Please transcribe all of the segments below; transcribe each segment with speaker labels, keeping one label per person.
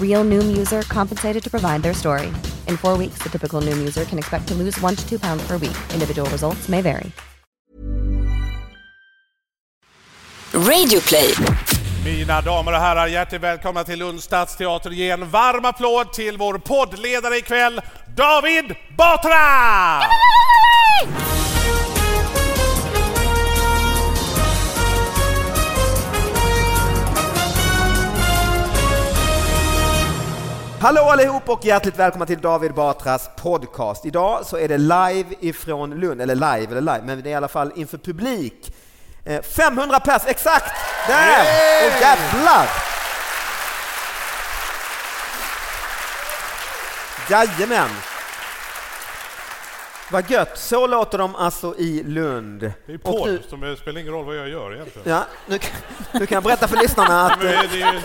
Speaker 1: Real Noom user compensated to provide their story. In four weeks, the typical Noom user can expect to lose one to two pounds per week. Individual results may vary.
Speaker 2: Radioplay.
Speaker 3: Mina damer och herrar, hjärtligt välkomna till Lunds stadsteater. Ge en varm applåd till vår poddledare ikväll, David Batra!
Speaker 4: Hallå allihop och hjärtligt välkomna till David Batras podcast. Idag så är det live ifrån Lund, eller live eller live, men det är i alla fall inför publik. Eh, 500 pers, exakt! Där!
Speaker 3: Yay!
Speaker 4: Och jävlar! Jajamän! Vad gött, så låter de alltså i Lund.
Speaker 3: Det är
Speaker 4: Och
Speaker 3: porr,
Speaker 4: nu-
Speaker 3: så det spelar ingen roll vad jag gör egentligen.
Speaker 4: Ja, nu, kan- nu kan jag berätta för lyssnarna att
Speaker 3: Men det är, det är,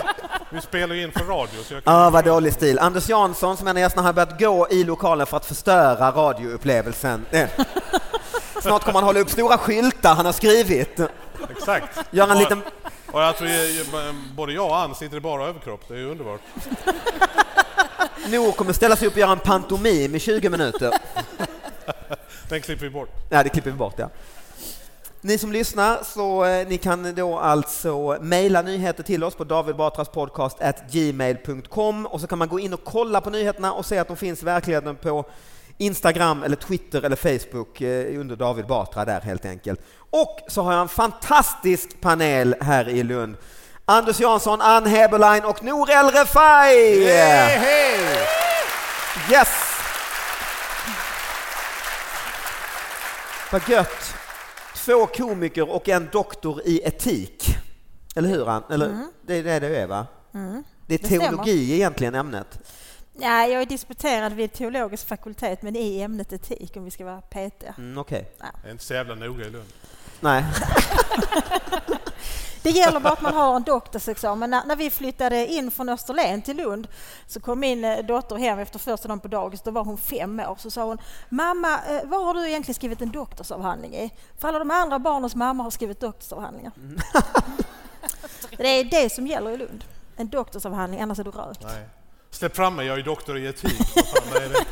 Speaker 3: vi spelar ju in för radio, så jag kan...
Speaker 4: Ja, vad dålig stil. Anders Jansson, som är nästan har börjat gå i lokalen för att förstöra radioupplevelsen. Eh. Snart kommer han hålla upp stora skyltar han har skrivit.
Speaker 3: Exakt.
Speaker 4: Gör en
Speaker 3: Och-
Speaker 4: liten...
Speaker 3: Och alltså, eh, både jag och Ann sitter i bara överkropp, det är ju underbart.
Speaker 4: Noor kommer ställa sig upp och göra en pantomim i 20 minuter.
Speaker 3: Den klipper vi bort.
Speaker 4: Nej, det klipper vi bort, ja. Ni som lyssnar, så eh, ni kan då alltså mejla nyheter till oss på davidbatraspodcast.gmail.com och så kan man gå in och kolla på nyheterna och se att de finns i verkligheten på Instagram eller Twitter eller Facebook eh, under David Batra där helt enkelt. Och så har jag en fantastisk panel här i Lund. Anders Jansson, Ann Heberlein och Nour El Refai!
Speaker 3: hej!
Speaker 4: Yes! Vad gött! Två komiker och en doktor i etik. Eller hur? Ann? Eller, Det är det du är, va? Det är
Speaker 5: Mm. Det
Speaker 4: teologi
Speaker 5: stämmer.
Speaker 4: egentligen ämnet.
Speaker 5: Ja, jag är disputerad vid teologisk fakultet, men i ämnet etik om vi ska vara petiga.
Speaker 4: Mm, Okej.
Speaker 3: Det är inte så jävla noga i Lund.
Speaker 4: Nej.
Speaker 5: Det gäller bara att man har en doktorsexamen. När, när vi flyttade in från Österlen till Lund så kom min eh, dotter hem efter första dagen på dagis, då var hon fem år, så sa hon ”Mamma, eh, vad har du egentligen skrivit en doktorsavhandling i?” För alla de andra barnens mamma har skrivit doktorsavhandlingar.
Speaker 4: Mm.
Speaker 5: det är det som gäller i Lund. En doktorsavhandling, annars är du rökt.
Speaker 3: Nej. Släpp fram mig, jag är doktor i etik. Vad fan, det, är det.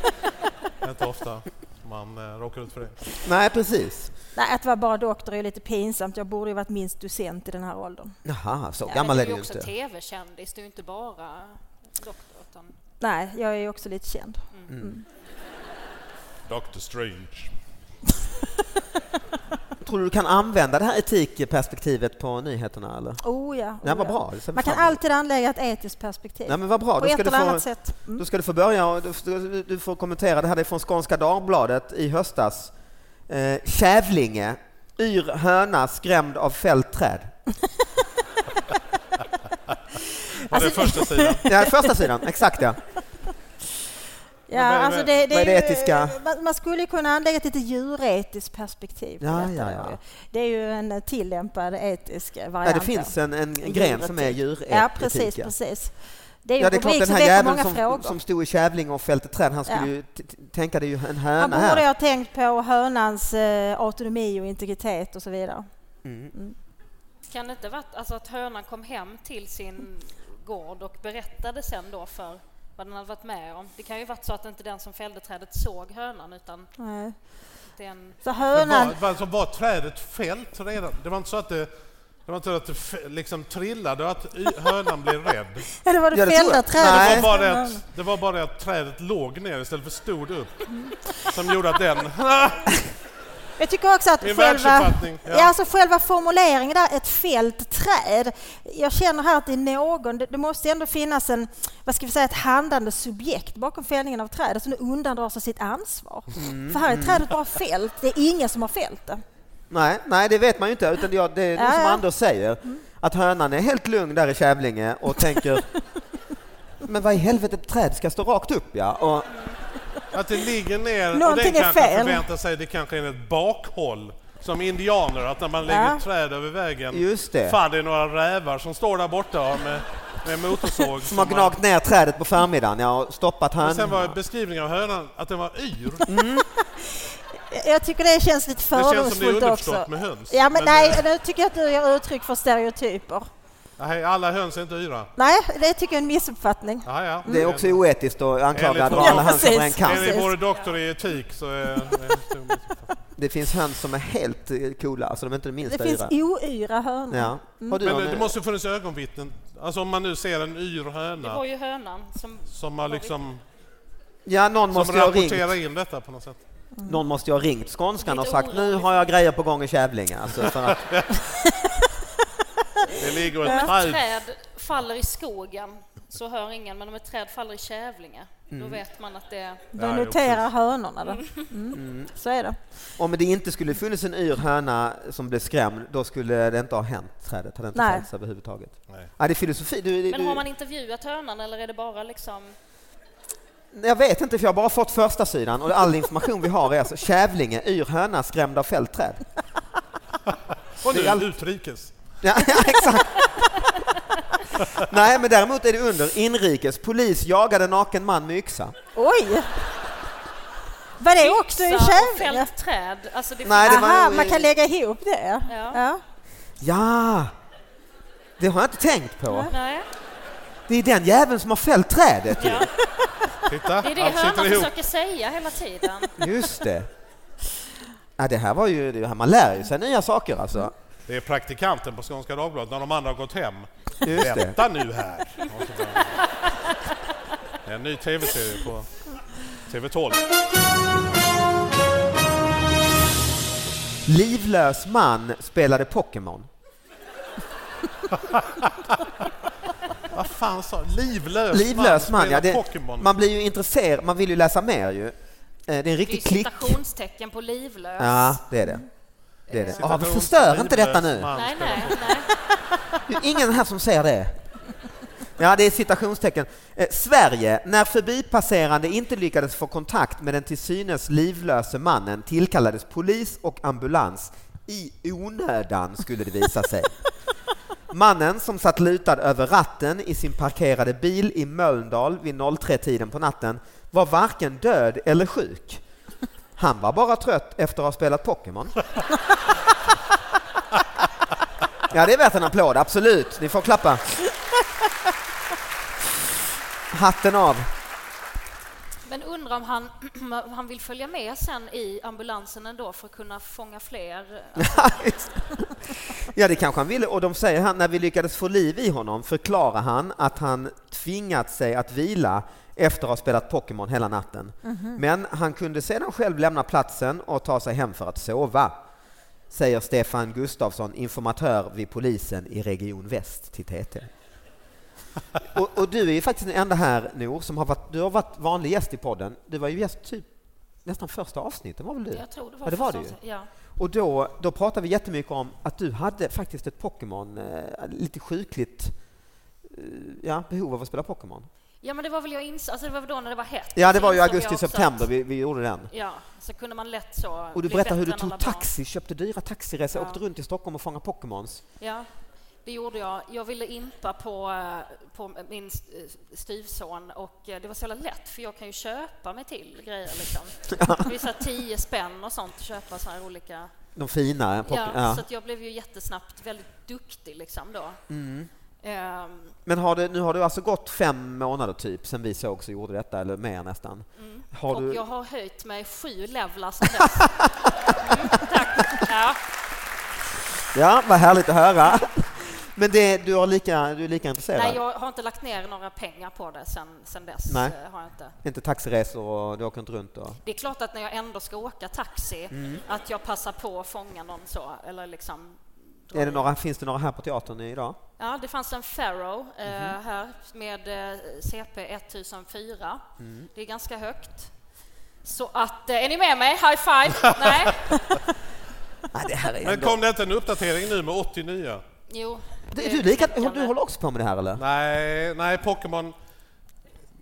Speaker 3: det är inte ofta man eh, råkar ut för det.
Speaker 4: Nej, precis.
Speaker 5: Nej, att vara bara doktor är ju lite pinsamt. Jag borde ju varit minst docent i den här åldern.
Speaker 4: Jaha, så
Speaker 6: Ja, men
Speaker 4: gammal
Speaker 6: du
Speaker 4: är
Speaker 6: är
Speaker 4: du
Speaker 6: ju
Speaker 4: ju
Speaker 6: också
Speaker 4: inte.
Speaker 6: tv-kändis, du är ju inte bara doktor. Utan...
Speaker 5: Nej, jag är ju också lite känd.
Speaker 3: Dr Strange.
Speaker 4: Tror du du kan använda det här etikperspektivet på nyheterna? Eller?
Speaker 5: Oh ja. Oh
Speaker 4: Nej, vad
Speaker 5: ja.
Speaker 4: bra. Det ser vi
Speaker 5: Man kan
Speaker 4: fram emot.
Speaker 5: alltid anlägga ett etiskt perspektiv.
Speaker 4: Nej, men vad
Speaker 5: På
Speaker 4: bra. Då ska,
Speaker 5: ett
Speaker 4: du
Speaker 5: eller
Speaker 4: få,
Speaker 5: annat sätt. Mm.
Speaker 4: då ska du få börja och du, du, du får kommentera. Det här är från Skånska Dagbladet i höstas. Eh, Kävlinge. Yr höna skrämd av fällt träd.
Speaker 3: Var
Speaker 5: Alltså,
Speaker 3: det första sidan?
Speaker 4: Ja, första sidan, exakt ja.
Speaker 5: Ja,
Speaker 3: Men vad är-
Speaker 5: alltså det, det
Speaker 4: vad är det
Speaker 5: ju-
Speaker 4: etiska?
Speaker 5: man- Man skulle ju kunna anlägga ett lite djuretiskt perspektiv. på
Speaker 4: Ja,
Speaker 5: detta
Speaker 4: ja,
Speaker 5: då
Speaker 4: ja.
Speaker 5: ju. Det är ju en eh, tillämpad etisk eh, variant.
Speaker 4: Nej, det
Speaker 5: då.
Speaker 4: finns en, en gren som är djuretik.
Speaker 5: Ja, precis, precis. Det är ju
Speaker 4: Ja, det är
Speaker 5: en
Speaker 4: klart,
Speaker 5: rubrik
Speaker 4: den
Speaker 5: som
Speaker 4: här
Speaker 5: väcker många
Speaker 4: jäveln som,
Speaker 5: frågor.
Speaker 4: som stod i Kävlingeåfältet träd, han skulle
Speaker 5: Ja.
Speaker 4: ju t- t- tänka det är ju en
Speaker 5: Han
Speaker 4: höna
Speaker 5: borde
Speaker 4: här.
Speaker 5: ha tänkt på hönans eh, autonomi och integritet och så vidare.
Speaker 6: Kan det inte varit alltså att hönan kom hem till sin gård och berättade sen då för vad den hade varit med om? Det kan ju varit så att inte den som fällde trädet såg hönan utan
Speaker 5: Nej.
Speaker 6: det är en...
Speaker 5: Så
Speaker 3: Men
Speaker 5: hönan...
Speaker 3: Var, var, alltså, var trädet fällt redan? Det var inte så att det, det, var inte så att det f- liksom trillade och att y- hönan blev rädd?
Speaker 5: Eller var det
Speaker 4: Ja, det tror
Speaker 5: fällda
Speaker 4: jag.
Speaker 5: trädet? som
Speaker 4: Nej.
Speaker 3: Det var, bara
Speaker 5: stämde
Speaker 3: det,
Speaker 5: honom?
Speaker 3: att, det var bara det att trädet låg ner istället för stod upp som gjorde att den...
Speaker 5: Jag tycker också att
Speaker 3: Min
Speaker 5: själva,
Speaker 3: världsuppfattning,
Speaker 5: ja.
Speaker 3: ja.
Speaker 5: alltså själva formuleringen där, ett fällt träd. Jag känner här att det är någon, det, det måste ändå finnas en, vad ska vi säga, ett handlande subjekt bakom fällningen av trädet som nu undandrar sig sitt ansvar.
Speaker 3: Mm.
Speaker 5: För här är trädet bara fällt, det är ingen som har fällt det.
Speaker 4: Nej, nej, det vet man ju inte, utan det, är- det är nog
Speaker 5: Ja,
Speaker 4: som
Speaker 5: ja. Mm.
Speaker 4: Anders säger, att hönan är helt lugn där i Kävlinge och tänker men vad i helvete, ett träd ska stå rakt upp ja. Och,
Speaker 3: Att det ligger ner och
Speaker 5: Någonting
Speaker 3: den
Speaker 5: är
Speaker 3: kanske
Speaker 5: fel.
Speaker 3: förväntar sig det kanske är ett bakhåll som indianer, att när man lägger
Speaker 5: Ja.
Speaker 3: ett träd över vägen,
Speaker 4: Just det.
Speaker 3: fan det är några rävar som står där borta med, med motorsåg.
Speaker 4: som har gnagt ner trädet på förmiddagen ja, och stoppat
Speaker 3: Och sen var
Speaker 4: hönan.
Speaker 3: beskrivningen av hönan att den var yr.
Speaker 5: Jag- Jag tycker det känns lite
Speaker 3: känns som det är
Speaker 5: fördomsfullt
Speaker 3: underförstått
Speaker 5: också.
Speaker 3: med höns.
Speaker 5: Ja, men,
Speaker 3: Men,
Speaker 5: nej,
Speaker 3: eh,
Speaker 5: nu tycker jag att du ger uttryck för stereotyper.
Speaker 3: Nej, alla höns är inte yra.
Speaker 5: Nej, det tycker jag är en missuppfattning.
Speaker 3: Aha, ja.
Speaker 4: Det är också oetiskt att anklaga
Speaker 3: Enligt- Ja,
Speaker 4: alla höns över en
Speaker 5: precis.
Speaker 4: kam.
Speaker 3: Enligt vår doktor i etik så är... är-
Speaker 4: Det finns höns som är helt eh, coola, alltså de är inte det
Speaker 5: Det
Speaker 4: minsta
Speaker 5: finns Mm.
Speaker 4: yra.
Speaker 5: oyra hönor.
Speaker 4: Ja. Har du
Speaker 3: Men
Speaker 4: någon- eh,
Speaker 3: det måste ju funnits ögonvittnen. Alltså om man nu ser en yr
Speaker 6: Det var
Speaker 3: höna
Speaker 6: ju hönan som...
Speaker 3: som har liksom...
Speaker 4: ja, någon
Speaker 3: Som
Speaker 4: måste ju ha ringt.
Speaker 3: rapporterar in detta på något sätt.
Speaker 4: Någon måste ju ha ringt Skånskan och
Speaker 6: Lite
Speaker 4: sagt nu
Speaker 6: orolig.
Speaker 4: har jag grejer på gång i Kävlinge. Alltså, för att,
Speaker 3: Det ligger ett
Speaker 6: Om ett
Speaker 3: träd.
Speaker 6: träd faller i skogen så hör ingen, men om ett träd faller i Kävlinge då vet man att det är...
Speaker 5: Du
Speaker 3: Ja, jo,
Speaker 5: noterar hönorna då. Mm. Så är det.
Speaker 4: om det inte skulle funnits en yr höna som blev skrämd, då skulle det inte ha hänt trädet. Hade inte
Speaker 5: Nej.
Speaker 4: fällts överhuvudtaget.
Speaker 3: Nej.
Speaker 4: Ja, det är filosofi. Du, du,
Speaker 6: Men har man intervjuat hönan eller är det bara liksom...
Speaker 4: Jag vet inte, för jag har bara fått första sidan och all information vi har är alltså Kävlinge, yr höna, skrämd av fältträd.
Speaker 3: Och
Speaker 4: Det är allt-
Speaker 3: nu utrikes.
Speaker 4: Ja, ja, exakt. Nej, men däremot är det under inrikes. Polis jagade naken man med yxa.
Speaker 5: Oj! Var det också en
Speaker 6: Yxa och
Speaker 5: kävling?
Speaker 6: fällt träd. Alltså det
Speaker 4: Nej, det var
Speaker 5: Aha,
Speaker 4: nog i-
Speaker 5: man kan lägga ihop det.
Speaker 6: Ja.
Speaker 5: Ja.
Speaker 4: Ja, det har jag inte tänkt på.
Speaker 6: Nej,
Speaker 4: Det är den jäveln som har fällt trädet. ju.
Speaker 6: ja.
Speaker 3: Titta,
Speaker 6: Det är det
Speaker 3: allt
Speaker 6: hönan
Speaker 3: sitter ihop.
Speaker 6: försöker säga hela tiden.
Speaker 4: Just det. Ja, det här var ju, det här, man lär ju sig nya saker alltså.
Speaker 3: Det är praktikanten på Skånska Dagbladet när de andra har gått hem.
Speaker 4: Just det.
Speaker 3: Vänta nu här. Och så bara- Det är en ny tv-serie på TV12.
Speaker 4: Livlös man spelade Pokémon.
Speaker 3: Vad fan sa Livlös,
Speaker 4: Livlös man, ja.
Speaker 3: spelar
Speaker 4: Det,
Speaker 3: Pokémon.
Speaker 4: man blir ju intresserad, man vill ju läsa mer ju. Eh, Det är en
Speaker 6: Det är
Speaker 4: riktig klick.
Speaker 6: citationstecken på livlös.
Speaker 4: Ja, det är det. det, är det. Ah,
Speaker 3: Citations-
Speaker 4: förstör inte detta
Speaker 3: livlös
Speaker 4: nu.
Speaker 3: man
Speaker 6: Nej,
Speaker 3: spelar-
Speaker 6: nej, nej.
Speaker 4: Det är ingen här som säger det. Ja, det är citationstecken. Eh, Sverige, när förbipasserande inte lyckades få kontakt med den till synes livlöse mannen tillkallades polis och ambulans. I onödan skulle det visa sig. Mannen som satt lutad över ratten i sin parkerade bil i Mölndal vid 03-tiden på natten var varken död eller sjuk. Han var bara trött efter att ha spelat Pokémon. Ja, det är värt en applåd, absolut. Ni får klappa. Hatten av.
Speaker 6: Men undrar om han, om han vill följa med sen i ambulansen ändå för att kunna fånga fler. alltså-
Speaker 4: ja, det kanske han ville. Och de säger han, när vi lyckades få liv i honom förklarar han att han tvingat sig att vila efter att ha spelat Pokémon hela natten.
Speaker 6: Mhm.
Speaker 4: Men han kunde sedan själv lämna platsen och ta sig hem för att sova, säger Stefan Gustafsson, informatör vid polisen i Region Väst till TT. Och, och du är ju faktiskt den enda här, Nor, som har varit, du har varit vanlig gäst i podden. Du var ju gäst typ nästan första avsnitten var väl du?
Speaker 6: Jag tror det var
Speaker 4: ja, det var du
Speaker 6: förstås-
Speaker 4: ju.
Speaker 6: Ja.
Speaker 4: Och då, då pratade vi jättemycket om att du hade faktiskt ett Pokémon, eh, lite sjukligt eh, ja, behov av att spela Pokémon.
Speaker 6: ja, men det var väl jag ins- alltså det var väl då när det var hett.
Speaker 4: Ja, det var ju
Speaker 6: Insåg jag
Speaker 4: augusti,
Speaker 6: också
Speaker 4: september
Speaker 6: att-
Speaker 4: vi, vi gjorde den.
Speaker 6: Ja, så kunde man lätt så...
Speaker 4: Och du
Speaker 6: bli
Speaker 4: berättade hur du
Speaker 6: bättre än alla
Speaker 4: tog
Speaker 6: barn.
Speaker 4: taxi, köpte dyra taxiresor,
Speaker 6: Ja.
Speaker 4: åkte runt i Stockholm och fångade Pokémons.
Speaker 6: Ja. Det gjorde jag. Jag ville impa på, eh, på min st- eh, styvson och eh, det var så jävla lätt för jag kan ju köpa mig till grejer. Liksom. Det är så här tio spänn och sånt att köpa så här olika.
Speaker 4: De fina. ja, Pop-
Speaker 6: Ja,
Speaker 4: ja.
Speaker 6: Så att jag blev ju jättesnabbt väldigt duktig liksom då.
Speaker 4: Mm.
Speaker 6: Ehm,
Speaker 4: Men har det, nu har det alltså gått fem månader typ sen vi sågs och gjorde detta, eller mer nästan. Har
Speaker 6: och
Speaker 4: du,
Speaker 6: jag har höjt mig sju levlar sedan dess. Mm, tack. Ja.
Speaker 4: Ja, vad härligt att höra. Men det, du, har lika, du är lika intresserad?
Speaker 6: Nej, jag har inte lagt ner några pengar på det sen, sen dess.
Speaker 4: Nej.
Speaker 6: eh, Har jag inte.
Speaker 4: Inte taxiresor och du åker inte runt och...
Speaker 6: Det är klart att när jag ändå ska åka taxi,
Speaker 4: Mm.
Speaker 6: att jag passar på att fånga någon så. Eller liksom,
Speaker 4: Är det några, finns det några här på teatern idag?
Speaker 6: ja, det fanns en Pharaoh eh,
Speaker 4: Mhm.
Speaker 6: här med eh, CP 1004.
Speaker 4: Mm.
Speaker 6: Det är ganska högt. Så att, eh, är ni med mig? High five! Nej?
Speaker 4: Nej, det här är
Speaker 3: Men
Speaker 4: ändå...
Speaker 3: kom det inte en uppdatering nu med 80 nya?
Speaker 6: Jo.
Speaker 4: Du,
Speaker 6: det
Speaker 4: du, lika,
Speaker 6: knäckande.
Speaker 4: du håller också på med det här eller?
Speaker 3: Nej, nej Pokémon...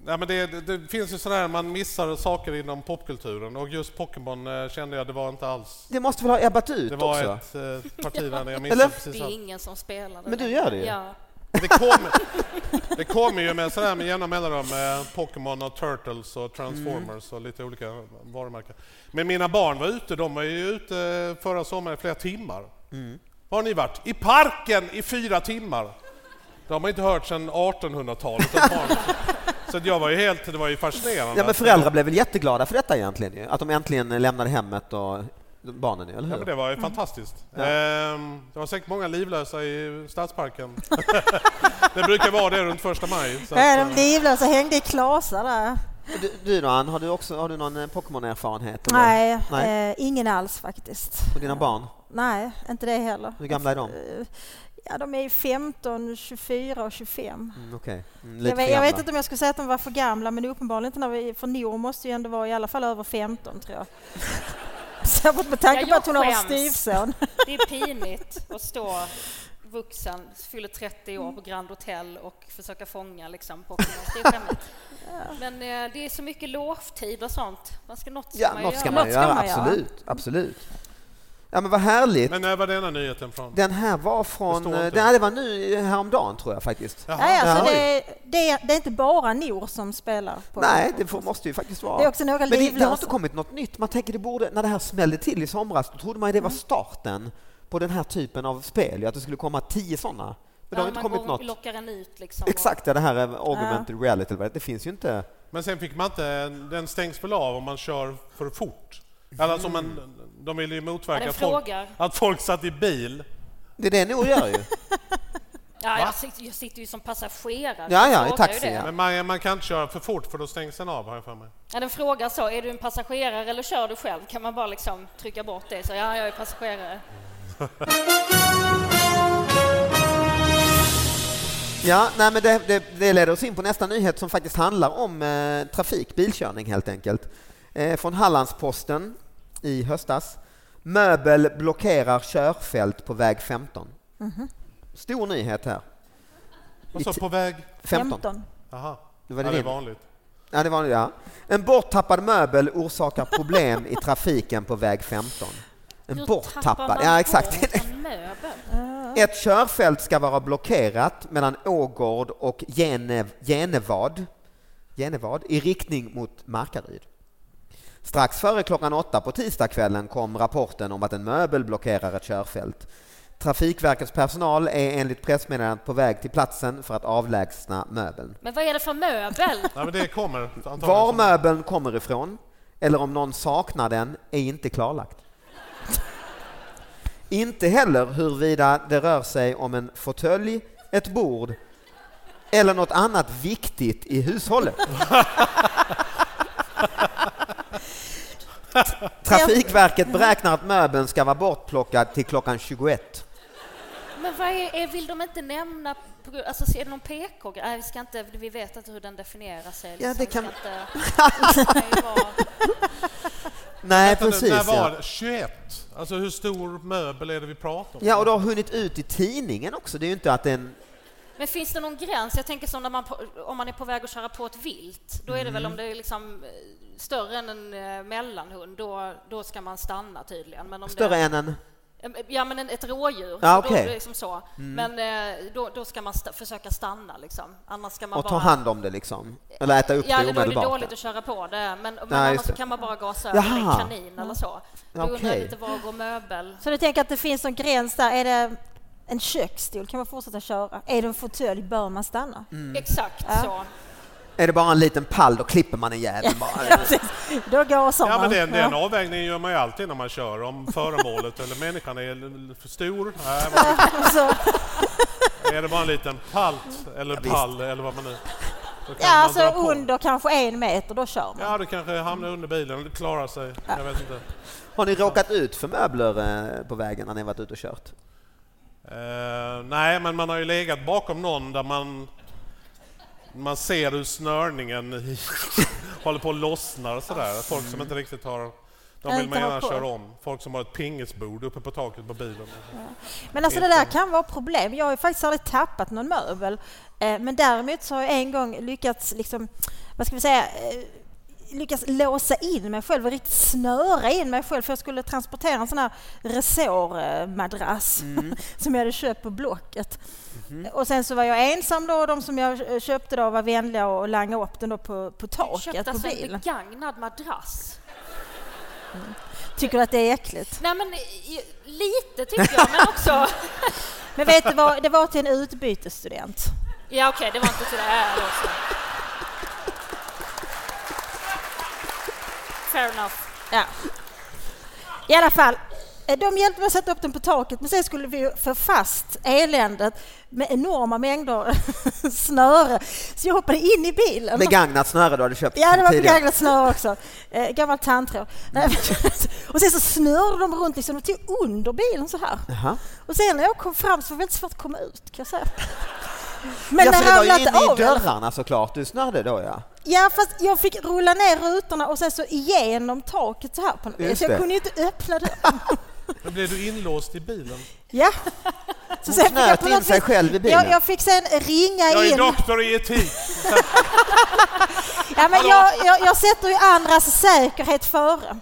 Speaker 3: Nej, men det, det, det finns ju sådana här, man missar saker inom popkulturen och just Pokémon eh, kände jag, det var inte alls...
Speaker 4: Det måste väl ha ebbat ut
Speaker 3: Det var
Speaker 4: typ också?
Speaker 3: ett eh, parti där jag missade
Speaker 4: Eller?
Speaker 3: precis
Speaker 6: Det är
Speaker 3: allt.
Speaker 6: ingen som spelar det
Speaker 4: Men du
Speaker 6: längre.
Speaker 4: gör det ju.
Speaker 6: Ja.
Speaker 3: Det kommer det kommer ju med sådär med jämna mellanrum eh, Pokémon och Turtles och Transformers och lite olika varumärken. Men mina barn var ute, de var ju ute eh, förra sommaren i flera timmar.
Speaker 4: Mm.
Speaker 3: Var har ni varit? I parken i fyra timmar! Det har man inte hört sedan 1800-talet. att barn- Så att jag var ju helt, det var ju fascinerande.
Speaker 4: Ja, men föräldrar blev väl jätteglada för detta egentligen ju? Att de äntligen lämnade hemmet och barnen, ju, eller hur?
Speaker 3: Ja, men det var ju fantastiskt. Ehm, det var säkert många livlösa i stadsparken. det brukar vara det runt första maj. Så att,
Speaker 5: Ja, de
Speaker 3: eh,
Speaker 5: livlösa hängde i klasar där.
Speaker 4: Du, du då, Ann, har du, också, har du någon eh, Pokémon-erfarenhet? eller?
Speaker 5: Nej,
Speaker 4: Nej.
Speaker 5: Eh, ingen alls faktiskt.
Speaker 4: Och dina barn?
Speaker 5: Nej, inte det heller.
Speaker 4: Hur gamla är de?
Speaker 5: Eh, Ja, de är ju 15, 24 och 25.
Speaker 4: Mm, Okej. Mm,
Speaker 5: Jag
Speaker 4: lite för
Speaker 5: vet, jag vet
Speaker 4: gamla.
Speaker 5: inte om jag skulle säga att de var för gamla, men uppenbarligen inte när vi... För Noor måste ju ändå vara i alla fall över 15, tror jag. Särskilt med tanke
Speaker 6: Ja,
Speaker 5: på
Speaker 6: jag
Speaker 5: att hon har en
Speaker 6: skäms.
Speaker 5: styvson.
Speaker 6: Det är pinigt att stå vuxen, fyller 30 år på Grand Hotel och försöka fånga liksom, Pokémons. Det är skämmigt. Men eh, det är så mycket lovtid och sånt. Man ska, något ska
Speaker 4: Ja,
Speaker 6: man
Speaker 4: något
Speaker 6: ju
Speaker 4: ska
Speaker 6: göra.
Speaker 4: man
Speaker 5: Något
Speaker 4: ju
Speaker 5: ska
Speaker 4: göra,
Speaker 5: man göra.
Speaker 4: absolut. Absolut. Ja, men vad härligt.
Speaker 3: Men när var denna nyheten från?
Speaker 4: Den här var från...
Speaker 3: Det står inte.
Speaker 4: Det här, det var nu häromdagen tror jag faktiskt.
Speaker 5: Nej, alltså
Speaker 4: Ja.
Speaker 5: det, det, är- det är inte bara Noor som spelar på
Speaker 4: Nej, det får, måste ju faktiskt vara.
Speaker 5: Det är också några
Speaker 4: men det, det har
Speaker 5: livlösa.
Speaker 4: inte kommit något nytt. Man tänker det borde, när det här smällde till i somras, då trodde man ju det var starten på den här typen av spel, ju, att det skulle komma tio sådana. Men det har
Speaker 6: Ja,
Speaker 4: inte
Speaker 6: man
Speaker 4: kommit
Speaker 6: går och
Speaker 4: något.
Speaker 6: lockar en ut liksom. och-
Speaker 4: Exakt, ja, det här är augmented reality, eller vad det- det finns ju inte.
Speaker 3: Men sen fick man inte, den stängs väl av om man kör för fort? Eller alltså om man, de ville ju motverka
Speaker 6: Den
Speaker 3: att folk,
Speaker 6: frågar.
Speaker 3: att folk satt i bil.
Speaker 4: Det är det Nour gör ju.
Speaker 6: Ja, jag, sitter, jag sitter ju som passagerare.
Speaker 4: Ja,
Speaker 6: Den
Speaker 4: ja, i
Speaker 6: frågar ju
Speaker 4: taxi,
Speaker 6: det.
Speaker 4: ja.
Speaker 3: Men man, man kan inte köra för fort för då stängs den av har jag för mig.
Speaker 6: Ja, den frågar så, är du en passagerare eller kör du själv? Kan man bara liksom trycka bort det? Så, ja, jag är passagerare.
Speaker 4: Ja, nej, men det, det, det leder oss in på nästa nyhet som faktiskt handlar om eh, trafik, bilkörning helt enkelt. Eh, från Hallandsposten i höstas. Möbel blockerar körfält på väg 15.
Speaker 6: Mhm.
Speaker 4: Stor nyhet här.
Speaker 3: Vad så
Speaker 4: I ti-
Speaker 3: på väg?
Speaker 4: 15.
Speaker 3: Jaha.
Speaker 4: Det
Speaker 3: ja,
Speaker 4: var det
Speaker 3: det är
Speaker 4: din.
Speaker 3: vanligt.
Speaker 4: Ja, det var det, ja. En borttappad möbel orsakar problem i trafiken på väg 15. En
Speaker 6: Hur tappar
Speaker 4: borttappad,
Speaker 6: man
Speaker 4: ja exakt.
Speaker 6: bort en möbel?
Speaker 4: Ett körfält ska vara blockerat mellan Ågård och Genev, Genevad, Genevad i riktning mot Markaryd. Strax före klockan åtta på tisdagskvällen kom rapporten om att en möbel blockerar ett körfält. Trafikverkets personal är enligt pressmeddelandet på väg till platsen för att avlägsna möbeln.
Speaker 6: Men vad är det för möbel?
Speaker 3: Nej, men det kommer antagligen.
Speaker 4: Var
Speaker 3: med.
Speaker 4: möbeln kommer ifrån eller om någon saknar den är inte klarlagt. inte heller huruvida det rör sig om en fåtölj, ett bord eller något annat viktigt i hushållet. Trafikverket beräknar att möbeln ska vara bortplockad till klockan 21.
Speaker 6: Men vad är, är, vill de inte nämna, på grund- alltså är det någon PK? Nej, vi, ska inte, vi vet inte hur den definierar sig.
Speaker 4: Ja,
Speaker 6: liksom.
Speaker 4: det
Speaker 6: Vi ska
Speaker 4: kan-
Speaker 6: inte, det kan ju vara,
Speaker 4: Nej, precis.
Speaker 3: När
Speaker 4: ja.
Speaker 3: var det? 21? Alltså hur stor möbel är det vi pratar om?
Speaker 4: ja, och det har hunnit ut i tidningen också. Det är ju inte att det är en
Speaker 6: men finns det någon gräns? Jag tänker som när man, på- om man är på väg att köra på ett vilt, då är det väl
Speaker 4: Mm.
Speaker 6: om det är liksom eh, större än en eh, mellanhund, då, då ska man stanna tydligen. Men om
Speaker 4: större
Speaker 6: det,
Speaker 4: än en...
Speaker 6: Ja, men en- ett rådjur.
Speaker 4: Ja,
Speaker 6: Då-
Speaker 4: okej. Mm.
Speaker 6: då är det liksom så. Men eh, då, då ska man sta- försöka stanna, liksom. annars ska man
Speaker 4: Och
Speaker 6: bara...
Speaker 4: ta hand om det liksom? Eller äta upp
Speaker 6: Ja,
Speaker 4: det
Speaker 6: eller då är det
Speaker 4: omedelbart?
Speaker 6: dåligt att köra på det, men, men
Speaker 4: Nej,
Speaker 6: annars
Speaker 4: just
Speaker 6: så
Speaker 4: det.
Speaker 6: kan man bara gasa över
Speaker 4: Jaha.
Speaker 6: en kanin eller så. Då undrar
Speaker 4: Okej.
Speaker 6: jag lite var går möbel?
Speaker 5: Så du tänker att det finns en gräns där? Är det en köksstol? Kan man fortsätta köra? Är det en fåtölj? Bör man stanna?
Speaker 6: Exakt så.
Speaker 4: Mm. Är det bara en liten pall, då klipper man en jävel bara.
Speaker 5: Precis. Då går sommaren.
Speaker 3: Ja, men den, den avvägningen gör man ju alltid när man kör, om föremålet eller människan är l- för stor. Nej, vad-
Speaker 5: Så,
Speaker 3: är det bara en liten palt eller pall eller vad man nu... då kan
Speaker 5: ja,
Speaker 3: man
Speaker 5: alltså
Speaker 3: dra på.
Speaker 5: under kanske en meter, då kör man.
Speaker 3: Ja, det kanske hamnar under bilen, det klarar sig. Jag vet inte.
Speaker 4: Har ni råkat ut för möbler eh, på vägen när ni varit ute och kört?
Speaker 3: Eh, nej, men man har ju legat bakom någon där man, man ser hur snörningen håller på att lossna och sådär. Folk som inte riktigt har... De vill
Speaker 5: Inte
Speaker 3: man
Speaker 5: har
Speaker 3: gärna
Speaker 5: koll.
Speaker 3: köra om. Folk som har ett pingisbord uppe på taket på bilen.
Speaker 5: Men alltså det där kan vara problem. Jag har ju faktiskt aldrig tappat någon möbel. Eh, Men däremot så har jag en gång lyckats, liksom, vad ska vi säga, eh, lyckats låsa in mig själv och riktigt snöra in mig själv för jag skulle transportera en sån här resårmadrass som jag hade köpt på Blocket. Och sen så var jag ensam då och de som jag eh, köpte då var vänliga och langade upp den då på, på
Speaker 6: Du
Speaker 5: taket
Speaker 6: köpte
Speaker 5: på
Speaker 6: alltså en
Speaker 5: bilen.
Speaker 6: begagnad madrass.
Speaker 5: Tycker du att det är äckligt?
Speaker 6: Nej, men i- lite tycker jag, men också...
Speaker 5: Men vet du vad, det var till en utbytesstudent.
Speaker 6: Ja, okej, det var inte till det här också. Fair enough.
Speaker 5: Ja. I alla fall, eh, de hjälpte mig att sätta upp den på taket men sen skulle vi ju få fast eländet med enorma mängder snöre. Så jag hoppade in i bilen.
Speaker 4: Begagnat snöre du hade köpt
Speaker 5: Ja, det var
Speaker 4: tidigare.
Speaker 5: begagnat snöre också. Eh, gammal tandtråd. Nej, men- och sen så snörde de runt liksom, och tog under bilen så här.
Speaker 4: Jaha.
Speaker 5: Och sen när jag kom fram så var det väldigt svårt att komma ut kan jag säga. Men
Speaker 4: ja,
Speaker 5: det
Speaker 4: för det var
Speaker 5: ramlade
Speaker 4: ju
Speaker 5: inte
Speaker 4: inne i
Speaker 5: av. i alla
Speaker 4: dörrarna såklart du snörde då ja.
Speaker 5: Ja, fast jag fick rulla ner rutorna och sen så igenom taket så här på något vis.
Speaker 4: Just
Speaker 5: Så
Speaker 4: det.
Speaker 5: jag kunde ju inte öppna dörren.
Speaker 3: Då blev du inlåst i bilen.
Speaker 5: Ja. Så sen
Speaker 4: knöt
Speaker 5: jag på
Speaker 4: in
Speaker 5: något
Speaker 4: sig
Speaker 5: vis-
Speaker 4: själv i bilen.
Speaker 5: Jag, jag fick sen ringa
Speaker 3: Jag är
Speaker 5: in.
Speaker 3: doktor i etik!
Speaker 5: Ja, men jag, jag, jag sätter ju andras säkerhet före.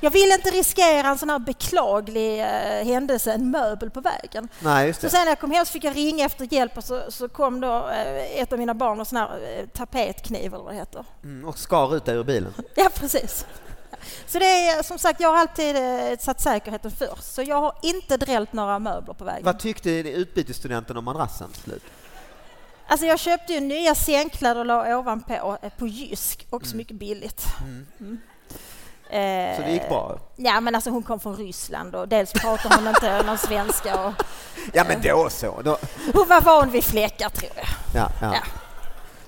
Speaker 5: Jag vill inte riskera en sån här beklaglig eh, händelse, en möbel på vägen.
Speaker 4: Nej, just
Speaker 5: Så
Speaker 4: det.
Speaker 5: sen när jag kom hem så fick jag ringa efter hjälp och så, så kom då eh, ett av mina barn med sån här eh, tapetkniv eller vad det heter.
Speaker 4: Mm, och skar ut dig ur bilen.
Speaker 5: Ja, precis. Så det är som sagt, jag har alltid eh, satt säkerheten först. Så jag har inte drällt några möbler på vägen.
Speaker 4: Vad tyckte utbytesstudenten om madrassen till slut?
Speaker 5: Alltså jag köpte ju nya sängkläder och la ovanpå eh, på Jysk, också mycket billigt. Mm.
Speaker 4: Mm, Så det gick bra?
Speaker 5: Eh, Ja, men alltså hon kom från Ryssland och dels pratar hon inte någon svenska och
Speaker 4: Ja men då så. Då,
Speaker 5: hon var van vid fläckar tror jag.
Speaker 4: ja, ja.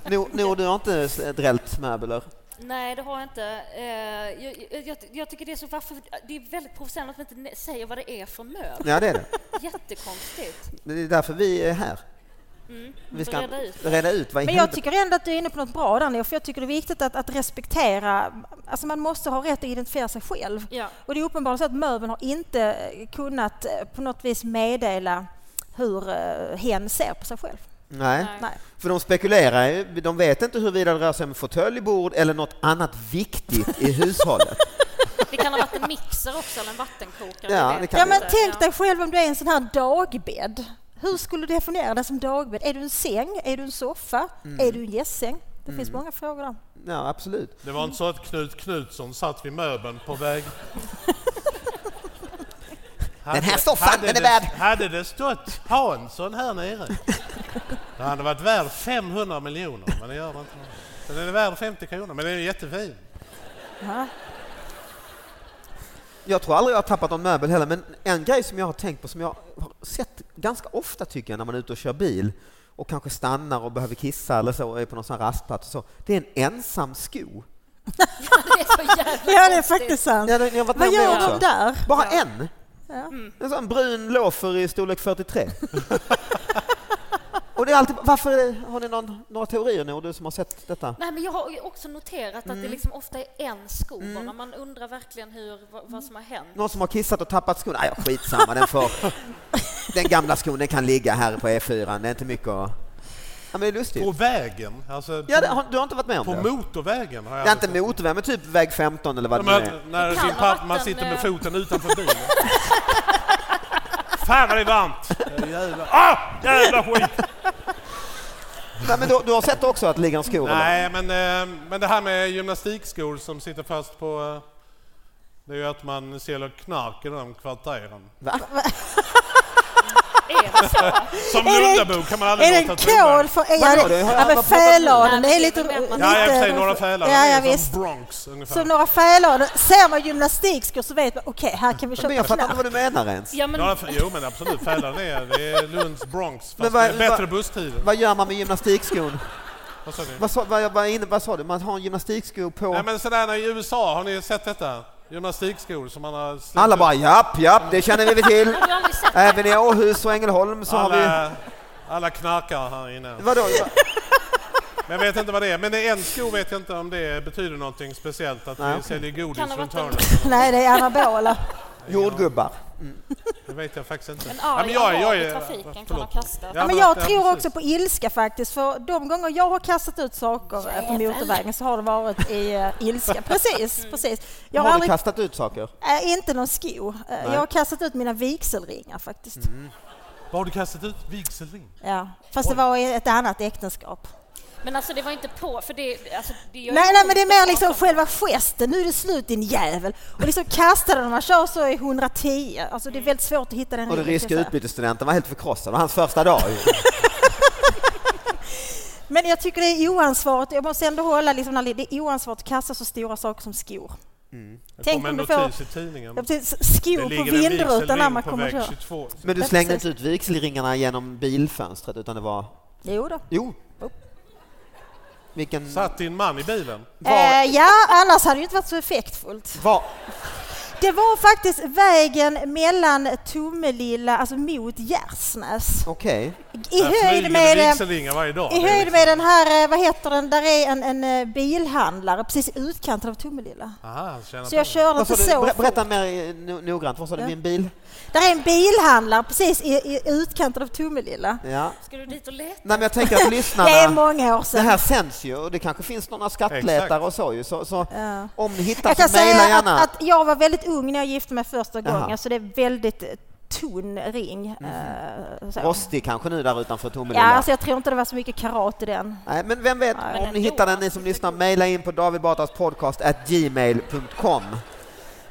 Speaker 5: Ja.
Speaker 4: Nor, Nor, du har inte s- drällt möbler?
Speaker 6: Nej, det har jag inte. Eh, Jag, jag, jag, jag tycker det är så varför, det är väldigt provocerande att man inte ne- säger vad det är för möbel.
Speaker 4: Ja det är det.
Speaker 6: Jättekonstigt.
Speaker 4: Det är därför vi är här. Vi ska
Speaker 6: reda ut.
Speaker 4: reda ut vad i
Speaker 5: Men jag
Speaker 4: helvete-
Speaker 5: tycker ändå att du är inne på något bra där Neo, för jag tycker det är viktigt att, att respektera, alltså man måste ha rätt att identifiera sig själv.
Speaker 6: Ja.
Speaker 5: Och det är uppenbart så att möbeln har inte eh, kunnat eh, på något vis meddela hur eh, hen ser på sig själv.
Speaker 4: Nej.
Speaker 5: Nej.
Speaker 4: För de spekulerar ju, de vet inte huruvida det rör sig om fåtölj, bord eller något annat viktigt i hushållet.
Speaker 6: Det kan ha varit en mixer också, eller en vattenkokare.
Speaker 4: Ja,
Speaker 6: vi vet
Speaker 4: det kan
Speaker 5: Ja,
Speaker 6: inte.
Speaker 5: men tänk dig själv om du är en sån här dagbädd. Hur skulle du definiera dig som dagbädd? Är du en säng? Är du en soffa?
Speaker 4: Mm.
Speaker 5: Är du en gästsäng? Det finns många frågor där.
Speaker 4: Ja, absolut.
Speaker 3: Det var inte så att Knut Knutsson satt vid möbeln på väg...
Speaker 4: Den här soffan,
Speaker 3: hade
Speaker 4: den är
Speaker 3: det-
Speaker 4: värd-
Speaker 3: Hade det stått Hansson här nere, då hade det varit värd 500 miljoner. Men det gör det inte. Men Den är värd 50 kronor, men den är jättefin.
Speaker 5: Ja.
Speaker 4: Jag tror aldrig jag har tappat någon möbel heller, men en grej som jag har tänkt på som jag har sett ganska ofta tycker jag när man är ute och kör bil och kanske stannar och behöver kissa eller så och är på någon sån här rastplats och så. Det är en ensam sko.
Speaker 6: Det är så jävla
Speaker 5: ja, det är
Speaker 6: konstigt.
Speaker 5: faktiskt sant.
Speaker 4: Ja, det- jag har varit
Speaker 5: Vad
Speaker 4: med om det
Speaker 5: gör de
Speaker 4: också.
Speaker 5: där?
Speaker 4: Bara en!
Speaker 6: Mm.
Speaker 4: En sån brun loafer i storlek 43. och det är alltid, varför har ni någon, några teorier nu, du som har sett detta?
Speaker 6: Nej, men jag har ju också noterat att
Speaker 4: Mm.
Speaker 6: det liksom ofta är en sko bara. Man undrar verkligen hur, vad, vad som har hänt.
Speaker 4: Någon som har kissat och tappat skon? Nej, ja, skitsamma, den får... Den gamla skon den kan ligga här på E4, det är inte mycket att... Ja, men det är lustigt.
Speaker 3: På vägen, alltså
Speaker 4: Ja, det,
Speaker 3: på,
Speaker 4: har, du har inte varit med om
Speaker 3: på
Speaker 4: det?
Speaker 3: motorvägen har jag
Speaker 4: det är inte
Speaker 3: aldrig sett.
Speaker 4: motorväg, men typ väg 15 eller vad det nu
Speaker 3: Men
Speaker 4: är.
Speaker 3: när
Speaker 6: Det
Speaker 3: sin
Speaker 6: kan eh. ha
Speaker 3: pappa,
Speaker 6: varit
Speaker 3: man
Speaker 6: en,
Speaker 3: sitter med
Speaker 6: eh,
Speaker 3: foten utanför bilen. Fan vad det är varmt! Jävla, ah, jävla skit!
Speaker 4: Nej, men du, du har sett också att det ligger en skor? eller?
Speaker 3: Nej, men, eh, men det här med gymnastikskor som sitter fast på... eh, Det är ju att man säljer knark i de kvarteren.
Speaker 6: Är det så?
Speaker 3: Som
Speaker 5: Är det-
Speaker 3: Lundabo kan man aldrig
Speaker 5: Är det
Speaker 3: låta
Speaker 5: en
Speaker 3: tro det.
Speaker 5: kål för... Ja,
Speaker 4: Vadå,
Speaker 5: det,
Speaker 4: det har jag
Speaker 5: ja, men
Speaker 4: aldrig pratat om.
Speaker 5: fäladen, det är
Speaker 6: Nej,
Speaker 5: lite...
Speaker 6: men det är
Speaker 5: lite
Speaker 6: väl-
Speaker 3: Ja, i och för sig några fälar.
Speaker 5: Ja,
Speaker 3: de
Speaker 5: ja,
Speaker 3: är ju
Speaker 5: visst.
Speaker 3: som Bronx ungefär.
Speaker 5: Som några fäladen. Ser man gymnastikskor så vet man, okej, här kan vi
Speaker 4: Men jag
Speaker 5: köpa
Speaker 4: fattar inte
Speaker 5: knark.
Speaker 4: vad du menar ens.
Speaker 6: Ja, men,
Speaker 3: Några f- jo, men absolut. Fälan är, det är Lunds Bronx. Fast
Speaker 4: Men vad-
Speaker 3: det är bättre
Speaker 4: vad-
Speaker 3: busstider.
Speaker 4: Vad gör man med gymnastikskon?
Speaker 3: Vad sa ni?
Speaker 4: Vad sa, vad, vad, inne, vad sa du? Man har en gymnastiksko på...
Speaker 3: Nej, men sådär när i USA, har ni sett detta? Gymnastikskor som man har slitit
Speaker 4: Alla bara japp, japp, det känner vi väl till.
Speaker 6: har du aldrig sett det?
Speaker 4: Även i Åhus och Ängelholm så har vi...
Speaker 3: alla, alla knarkar här inne.
Speaker 4: Vadå?
Speaker 3: Men jag vet inte vad det är. Men det är en sko vet jag inte om det betyder någonting speciellt. Att vi
Speaker 4: okej.
Speaker 3: säljer
Speaker 6: Kan
Speaker 3: godis
Speaker 6: det
Speaker 3: runt
Speaker 6: vara att
Speaker 3: hörnet.
Speaker 5: Nej, det är anabola.
Speaker 4: Jordgubbar.
Speaker 3: Det vet jag faktiskt inte.
Speaker 6: en arg
Speaker 3: jag- jag
Speaker 6: arab i
Speaker 3: är-
Speaker 6: trafiken kan
Speaker 3: förlåt.
Speaker 6: ha kastat.
Speaker 5: Ja, men
Speaker 3: ja,
Speaker 5: jag tror
Speaker 3: precis.
Speaker 5: också på ilska faktiskt, för de gånger jag har kastat ut saker eh, på motorvägen så har det varit i eh, ilska. Precis, precis. Jag har,
Speaker 4: Har du
Speaker 5: aldrig,
Speaker 4: kastat ut saker?
Speaker 5: eh, inte någon sko. Eh, jag har kastat ut mina vigselringar faktiskt.
Speaker 3: Vad har du kastat ut? Vigselring?
Speaker 5: Ja. Fast det var i ett annat äktenskap.
Speaker 6: Men alltså det var inte på, för det... Alltså, det gör
Speaker 5: Nej,
Speaker 6: ju
Speaker 5: nej, men det är
Speaker 6: ont
Speaker 5: mer
Speaker 6: att
Speaker 5: liksom
Speaker 6: prata om.
Speaker 5: själva gesten. Nu är det slut din jävel. Och liksom kastade den. Man kör så i 110. Alltså
Speaker 6: Mm.
Speaker 5: det är väldigt svårt att hitta den
Speaker 4: Och den
Speaker 5: ringen,
Speaker 4: ryska
Speaker 5: kan jag säga.
Speaker 4: utbytesstudenten var helt förkrossad. Och hans första dag. ju.
Speaker 5: Men jag tycker det är oansvarigt. Jag måste ändå hålla liksom, när det det är oansvarigt att kasta så stora saker som skor.
Speaker 3: Det
Speaker 5: Tänk
Speaker 3: kom en
Speaker 5: om du får-
Speaker 3: notis i tidningen.
Speaker 5: Ja, precis.
Speaker 3: Det
Speaker 5: Skor på
Speaker 3: ligger en
Speaker 5: vindrutan när
Speaker 3: vigselring
Speaker 5: man
Speaker 3: på
Speaker 5: kommer
Speaker 3: väg
Speaker 5: köra.
Speaker 3: 22.
Speaker 4: Men du
Speaker 5: Ja,
Speaker 4: slängde inte
Speaker 5: precis.
Speaker 4: ut vigselringarna genom bilfönstret utan det var...
Speaker 5: Jo då.
Speaker 4: Jo.
Speaker 5: Oh.
Speaker 4: Vilken...
Speaker 3: Satt din man i bilen?
Speaker 4: Var...
Speaker 5: Eh, ja, annars hade det ju inte varit så effektfullt.
Speaker 4: var...
Speaker 5: Det var faktiskt vägen mellan Tomelilla, alltså mot Gärsnäs.
Speaker 4: Okej.
Speaker 5: I
Speaker 3: Där flyger
Speaker 5: höjd med... eh,
Speaker 3: vigselringar varje dag.
Speaker 5: I
Speaker 3: Det är
Speaker 5: höjd
Speaker 3: liksom-
Speaker 5: med den här, eh, vad heter den, där är en, en eh, bilhandlare precis i utkanten av Tomelilla.
Speaker 3: Aha, tjäna
Speaker 5: Så jag
Speaker 3: pengar.
Speaker 5: körde
Speaker 4: Vad sa
Speaker 5: inte
Speaker 4: du?
Speaker 5: så
Speaker 4: Ber-
Speaker 5: fort.
Speaker 4: Berätta mer eh, no- noggrant. Vad sa du?
Speaker 5: Ja.
Speaker 4: Min bil?
Speaker 5: Där är en bilhandlare precis i, i utkanten av Tomelilla.
Speaker 4: Ja.
Speaker 6: Ska du dit och leta?
Speaker 4: Nej, men jag tänker att
Speaker 5: Det är
Speaker 4: lyssnarna...
Speaker 5: många år
Speaker 4: Det
Speaker 5: sedan.
Speaker 4: här sänds ju och det kanske finns några skattletare
Speaker 3: Exakt.
Speaker 4: och så ju. Så, så
Speaker 5: Ja.
Speaker 4: om ni hittar
Speaker 5: Jag kan
Speaker 4: så mejla
Speaker 5: säga
Speaker 4: gärna.
Speaker 5: att, att jag var väldigt ung när jag gifte mig första
Speaker 4: Jaha.
Speaker 5: gången så det är väldigt eh, tunn ring. eh, så.
Speaker 4: Rostig kanske nu där utanför
Speaker 5: Ja,
Speaker 4: Tomelilla.
Speaker 5: alltså jag tror inte det var så mycket karat i den.
Speaker 4: Nej, men vem vet,
Speaker 5: Nej,
Speaker 4: om
Speaker 6: men
Speaker 4: ni
Speaker 6: ändå,
Speaker 4: hittar den, ni
Speaker 6: alltså,
Speaker 4: som
Speaker 6: det
Speaker 4: lyssnar, mejla in på davidbatraspodcast.gmail.com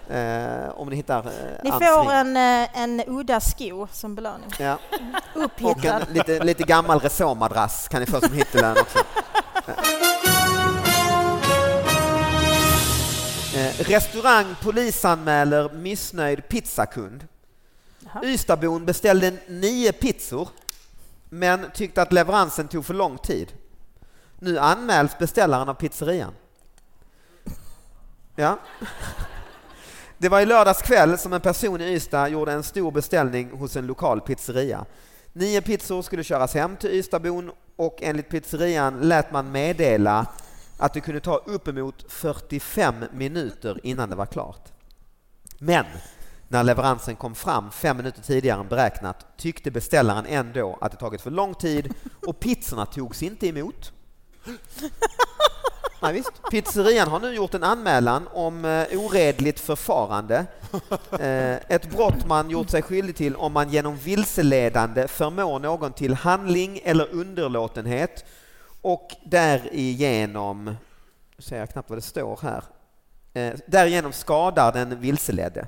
Speaker 4: eh, om ni hittar eh,
Speaker 5: Ni
Speaker 4: Anns ring.
Speaker 5: får en, eh, en udda sko som belöning.
Speaker 4: Ja. Och
Speaker 5: Upphittad.
Speaker 4: en lite, lite gammal resåmadrass kan ni få som hittelön också. Eh, Restaurang polisanmäler missnöjd pizzakund. Ystadsbon beställde nio pizzor men tyckte att leveransen tog för lång tid. Nu anmäls beställaren av pizzerian. Ja. Det var i lördags kväll som en person i Ystad gjorde en stor beställning hos en lokal pizzeria. Nio pizzor skulle köras hem till Ystadsbon och enligt pizzerian lät man meddela att det kunde ta uppemot 45 minuter innan det var klart. Men när leveransen kom fram fem minuter tidigare än beräknat tyckte beställaren ändå att det tagit för lång tid och pizzorna togs inte emot. Nej, visst. Pizzerian har nu gjort en anmälan om eh, oredligt förfarande. Eh, ett brott man gjort sig skyldig till om man genom vilseledande förmår någon till handling eller underlåtenhet och därigenom, nu ser jag knappt vad det står här, eh, därigenom skadar den vilseledde.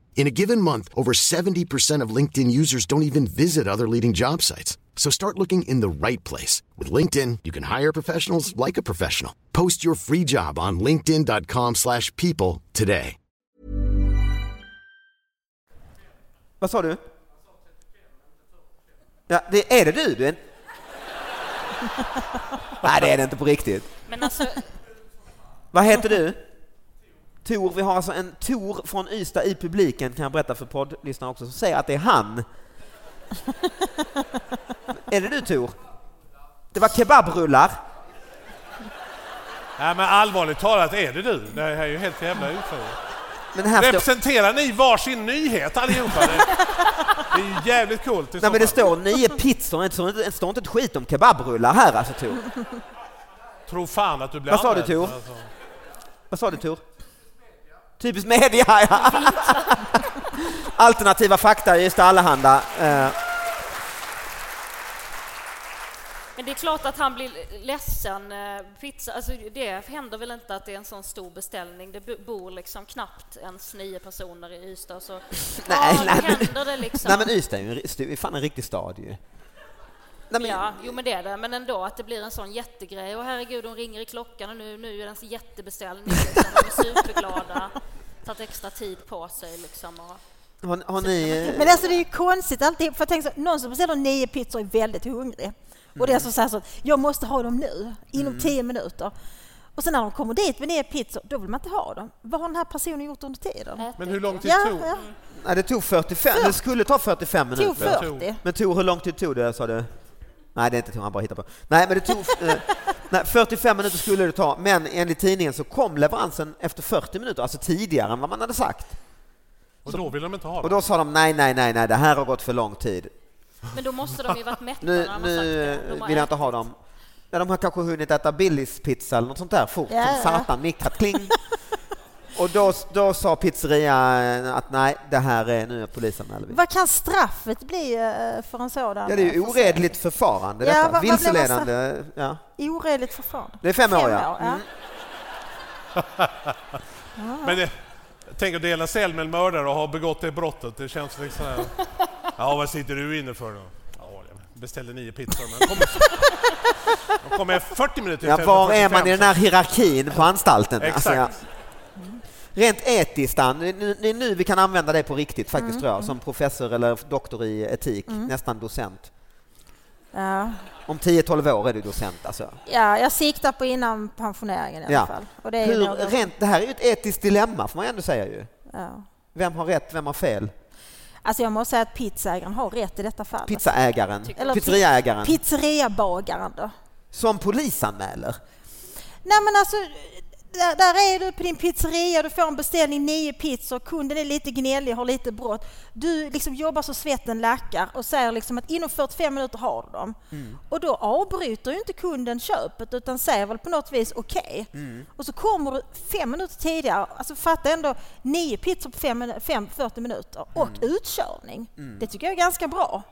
Speaker 7: In a given month, over 70% of LinkedIn users don't even visit other leading job sites. So start looking in the right place. With LinkedIn, you can hire professionals like a professional. Post your free job on linkedin.com/people slash people today.
Speaker 4: Vad sa du? Ja, det, är det du? du är en... Nej, det är det inte på riktigt.
Speaker 6: Men alltså,
Speaker 4: Vad heter du? Tor, vi har alltså en Tor från Ystad i publiken kan jag berätta för poddlyssnarna också, som säger att det är han. är det du Tor? Det var kebabrullar.
Speaker 3: Nej, men allvarligt talat, är det du? Det här är ju helt jävla
Speaker 4: Alltså-
Speaker 3: otroligt.
Speaker 4: Men här står...
Speaker 3: Representerar ni varsin nyhet allihopa? Det, det är ju jävligt coolt. i så
Speaker 4: Nej, men det
Speaker 3: fall.
Speaker 4: står nio pizzor, det står inte- det står inte ett skit om kebabrullar här alltså Tor.
Speaker 3: Tro fan att du blir
Speaker 4: Vad sa du,
Speaker 3: anmäld,
Speaker 4: Tor?
Speaker 3: alltså.
Speaker 4: Vad sa du Tor? Typiskt media, ja. Alternativa fakta i Ystad Allehanda. Eh,
Speaker 6: men det är klart att han blir ledsen. eh, Pizza, alltså det händer väl inte att det är en sån stor beställning. Det bo- bor liksom knappt ens nio personer i Ystad. Så
Speaker 4: Nej,
Speaker 6: ja,
Speaker 4: nej,
Speaker 6: då
Speaker 4: men-
Speaker 6: händer det liksom.
Speaker 4: Nej men Ystad är ju en ri- stu- är fan en riktig stad ju. Nej, men,
Speaker 6: Ja, jo men det är det. Men ändå att det blir en sån jättegrej. Och herregud, de ringer i klockan och nu, nu är det en jättebeställning. Liksom. De är superglada. Tagit extra tid på sig liksom. Och...
Speaker 4: Har, har ni... eh,
Speaker 5: Men alltså det är ju konstigt alltid. För jag tänker så, någon som beställer nio pizzor är väldigt hungrig. Och det är som så här så att jag måste ha dem nu, inom
Speaker 4: Mm.
Speaker 5: tio minuter. Och sen när de kommer dit med nio pizzor, då vill man inte ha dem. Vad har den här personen gjort under tiden?
Speaker 3: Men hur lång tid
Speaker 5: Ja,
Speaker 3: tog
Speaker 5: ja.
Speaker 6: Mm.
Speaker 4: Nej, det tog 45, det skulle ta 45 minuter.
Speaker 5: Tog 40.
Speaker 4: Men Tor, hur lång tid tog det sa du? Nej, det är inte Tor, han bara hittar på. Nej, men det tog... eh, nej, 45 minuter skulle det ta, men enligt tidningen så kom leveransen efter 40 minuter, alltså tidigare än vad man hade sagt.
Speaker 3: Och då vill de inte ha
Speaker 4: Och
Speaker 3: det.
Speaker 4: då sa de nej, nej, nej, nej, det här har gått för lång tid.
Speaker 6: Men då måste de ju varit mätta när
Speaker 4: Nu,
Speaker 6: de har
Speaker 4: nu
Speaker 6: sagt det. De har
Speaker 4: vill jag inte ha
Speaker 6: ätit.
Speaker 4: dem. Ja, de har kanske hunnit äta Billys pizza eller något sånt där fort
Speaker 5: Ja,
Speaker 4: som
Speaker 5: ja.
Speaker 4: satan, mikrat kling. Och då, då sa pizzerian att nej, det här är, nu är polisanmäler vi.
Speaker 5: Vad kan straffet bli eh, för en sådan?
Speaker 4: Ja, det är ju
Speaker 5: eh,
Speaker 4: oredligt förfarande
Speaker 5: Ja,
Speaker 4: detta.
Speaker 5: vad- vad blir massa-
Speaker 4: Vilseledande. Ja.
Speaker 5: försäljning? Alltså, Oredligt förfarande.
Speaker 4: Det är fem, år, ja.
Speaker 5: ja.
Speaker 4: Mm.
Speaker 3: Men det, tänk att dela cell med en mördare och ha begått det brottet. Det känns liksom här. Ja, vad sitter du inne för då? Ja, jag beställde nio pizzor, men de kommer, de kommer 40 minuter
Speaker 4: Ja,
Speaker 3: istället för
Speaker 4: var är
Speaker 3: 45,
Speaker 4: man i den här hierarkin på anstalten? Alltså,
Speaker 3: Exakt.
Speaker 4: ja. Rent etiskt, Dan, det är nu- det är nu vi kan använda dig på riktigt faktiskt
Speaker 5: Mm,
Speaker 4: tror jag, som professor eller doktor i etik, nästan docent.
Speaker 5: Ja.
Speaker 4: Om 10-12 år är du docent alltså.
Speaker 5: ja, jag siktar på innan pensioneringen i alla fall. Och det är ju
Speaker 4: Hur,
Speaker 5: några-
Speaker 4: rent, det här är ju ett etiskt dilemma får man ju ändå säga ju.
Speaker 5: ja.
Speaker 4: Vem har rätt, vem har fel?
Speaker 5: Alltså jag måste säga att pizzaägaren har rätt i detta fallet.
Speaker 4: Pizzaägaren,
Speaker 5: Eller pi-
Speaker 4: pizzeriaägaren,
Speaker 5: Pizzeriabagaren då?
Speaker 4: som polisanmäler.
Speaker 5: Nej men alltså, där, där är du på din pizzeria, du får en beställning, nio pizzor, kunden är lite gnällig, har lite brått. Du liksom jobbar så svetten lackar och säger liksom att inom 45 minuter har du dem. Och då avbryter ju inte kunden köpet utan säger väl på något vis okej. Och så kommer du fem minuter tidigare, alltså fatta ändå nio pizzor på fem, minu- fem 40 minuter och utkörning. Det tycker jag är ganska bra.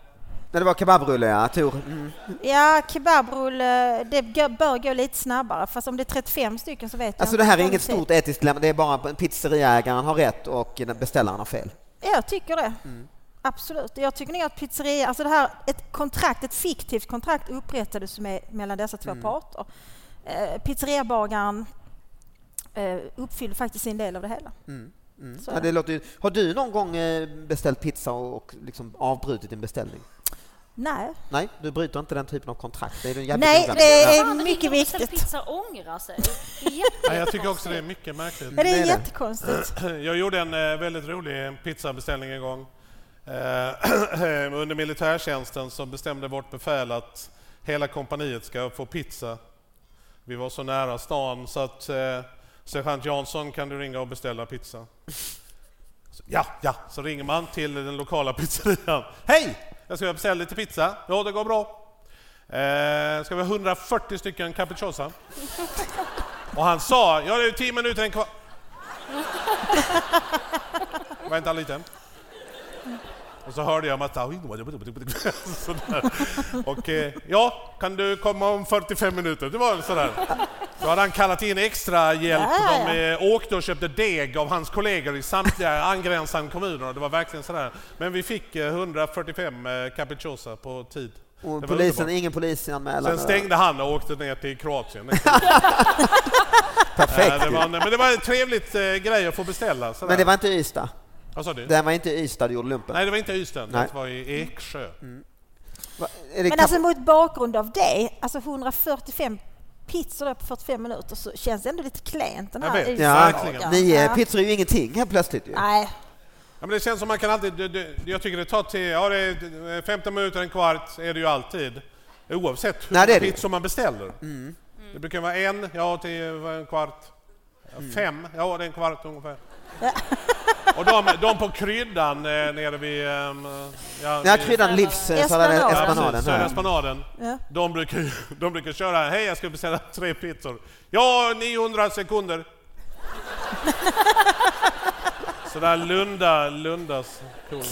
Speaker 4: När det var kebabrulle, ja. Tor. Mm.
Speaker 5: Ja, kebabrulle, det g- bör gå lite snabbare. Fast om det är 35 stycken så vet jag
Speaker 4: Alltså
Speaker 5: inte
Speaker 4: det här är
Speaker 5: hur
Speaker 4: inget
Speaker 5: lång tid.
Speaker 4: stort etiskt dilemma, det är bara att pizzeriaägaren har rätt och beställaren har fel.
Speaker 5: Ja, jag tycker det.
Speaker 3: Mm.
Speaker 5: Absolut. Jag tycker nog att pizzeria, alltså det här, ett kontrakt, ett fiktivt kontrakt upprättades med, mellan dessa två
Speaker 4: Mm.
Speaker 5: parter. Eh, pizzeriabagaren eh, uppfyllde faktiskt sin del av det hela. Så,
Speaker 4: Mm. Ja, det låter ju... Har du någon gång eh, beställt pizza och och liksom avbrutit din beställning?
Speaker 5: Nej,
Speaker 4: Nej, du bryter inte den typen av kontrakt. Det är du jävligt
Speaker 5: Nej,
Speaker 4: noga med.
Speaker 5: det är-
Speaker 4: Ja.
Speaker 6: Fan,
Speaker 5: mycket
Speaker 6: ingen beställer
Speaker 5: viktigt.
Speaker 6: pizza ångrar sig. Det är
Speaker 3: Ja, jag tycker också det är
Speaker 6: jättekonstigt.
Speaker 3: mycket märkligt.
Speaker 5: Ja, det
Speaker 4: det
Speaker 5: är
Speaker 4: är det.
Speaker 5: jättekonstigt.
Speaker 3: Jag gjorde en eh, väldigt rolig pizzabeställning en gång. Eh, Under militärtjänsten så bestämde vårt befäl att hela kompaniet ska få pizza. Vi var så nära stan så att eh, sergeant Jansson kan du ringa och beställa pizza. Så, Ja, ja, så ringer man till den lokala pizzerian. Hej! Jag ska beställa lite pizza. Ja, det går bra. Eh, ska vi ha 140 stycken capricciosa? Och han sa, ja det är ju 10 minuter en kvar. Vänta lite. Och så hörde jag Mats Oj, då, då, då, då, då. sådär. Och eh, ja, kan du komma om 45 minuter? Det var sådär. Då hade han kallat in extra hjälp.
Speaker 5: Ja, ja,
Speaker 3: De eh, åkte och köpte deg av hans kollegor i samtliga angränsande kommuner. Det var verkligen sådär. Men vi fick eh, 145 eh, capricciosa på tid.
Speaker 4: Och
Speaker 3: Det var
Speaker 4: polisen,
Speaker 3: underbart.
Speaker 4: ingen polisanmälan.
Speaker 3: Sen stängde han och åkte ner till Kroatien. Eh, Det var, en- men det var en trevlig eh, grej att få beställa. Sådär.
Speaker 4: Men det var inte Ystad?
Speaker 3: Vad sa du?
Speaker 4: Den var inte Ystad du gjorde lumpen?
Speaker 3: Nej, det var inte Ystad.
Speaker 4: Nej. Mm.
Speaker 3: Det var i Eksjö. Mm.
Speaker 4: Va- är det
Speaker 5: Men
Speaker 4: knapp-
Speaker 5: alltså mot bakgrund av det, alltså 145 pizzor där på 45 minuter så känns det ändå lite klent den
Speaker 3: Jag
Speaker 5: här
Speaker 3: vet,
Speaker 5: isen.
Speaker 4: ja,
Speaker 3: verkligen.
Speaker 4: nio
Speaker 5: Ja.
Speaker 4: pizzor är ju ingenting helt plötsligt ju.
Speaker 5: Nej,
Speaker 3: Ja, men det känns som man kan alltid... Det, det, jag tycker det tar till... Ja, det är 15 minuter, en kvart är det ju alltid. Oavsett hur
Speaker 4: Nej, det är
Speaker 3: många
Speaker 4: det ju. Mm.
Speaker 3: pizzor man beställer. Mm. Det brukar vara en, ja till en kvart.
Speaker 4: Mm.
Speaker 3: Fem, ja det är en kvart ungefär. Och de, de på kryddan eh, nere vid... ehm, Ja,
Speaker 4: Nej,
Speaker 3: vid-
Speaker 4: kryddan livs... eh, så där,
Speaker 5: Esplanad.
Speaker 3: Ja, precis,
Speaker 4: Espanaden.
Speaker 3: Södra
Speaker 4: här.
Speaker 3: Espanaden.
Speaker 5: Ja.
Speaker 3: De, brukar, ju- de brukar köra, hej jag ska beställa tre pizzor. Ja, 900 sekunder. Sådär Lunda, Lundas cool grej.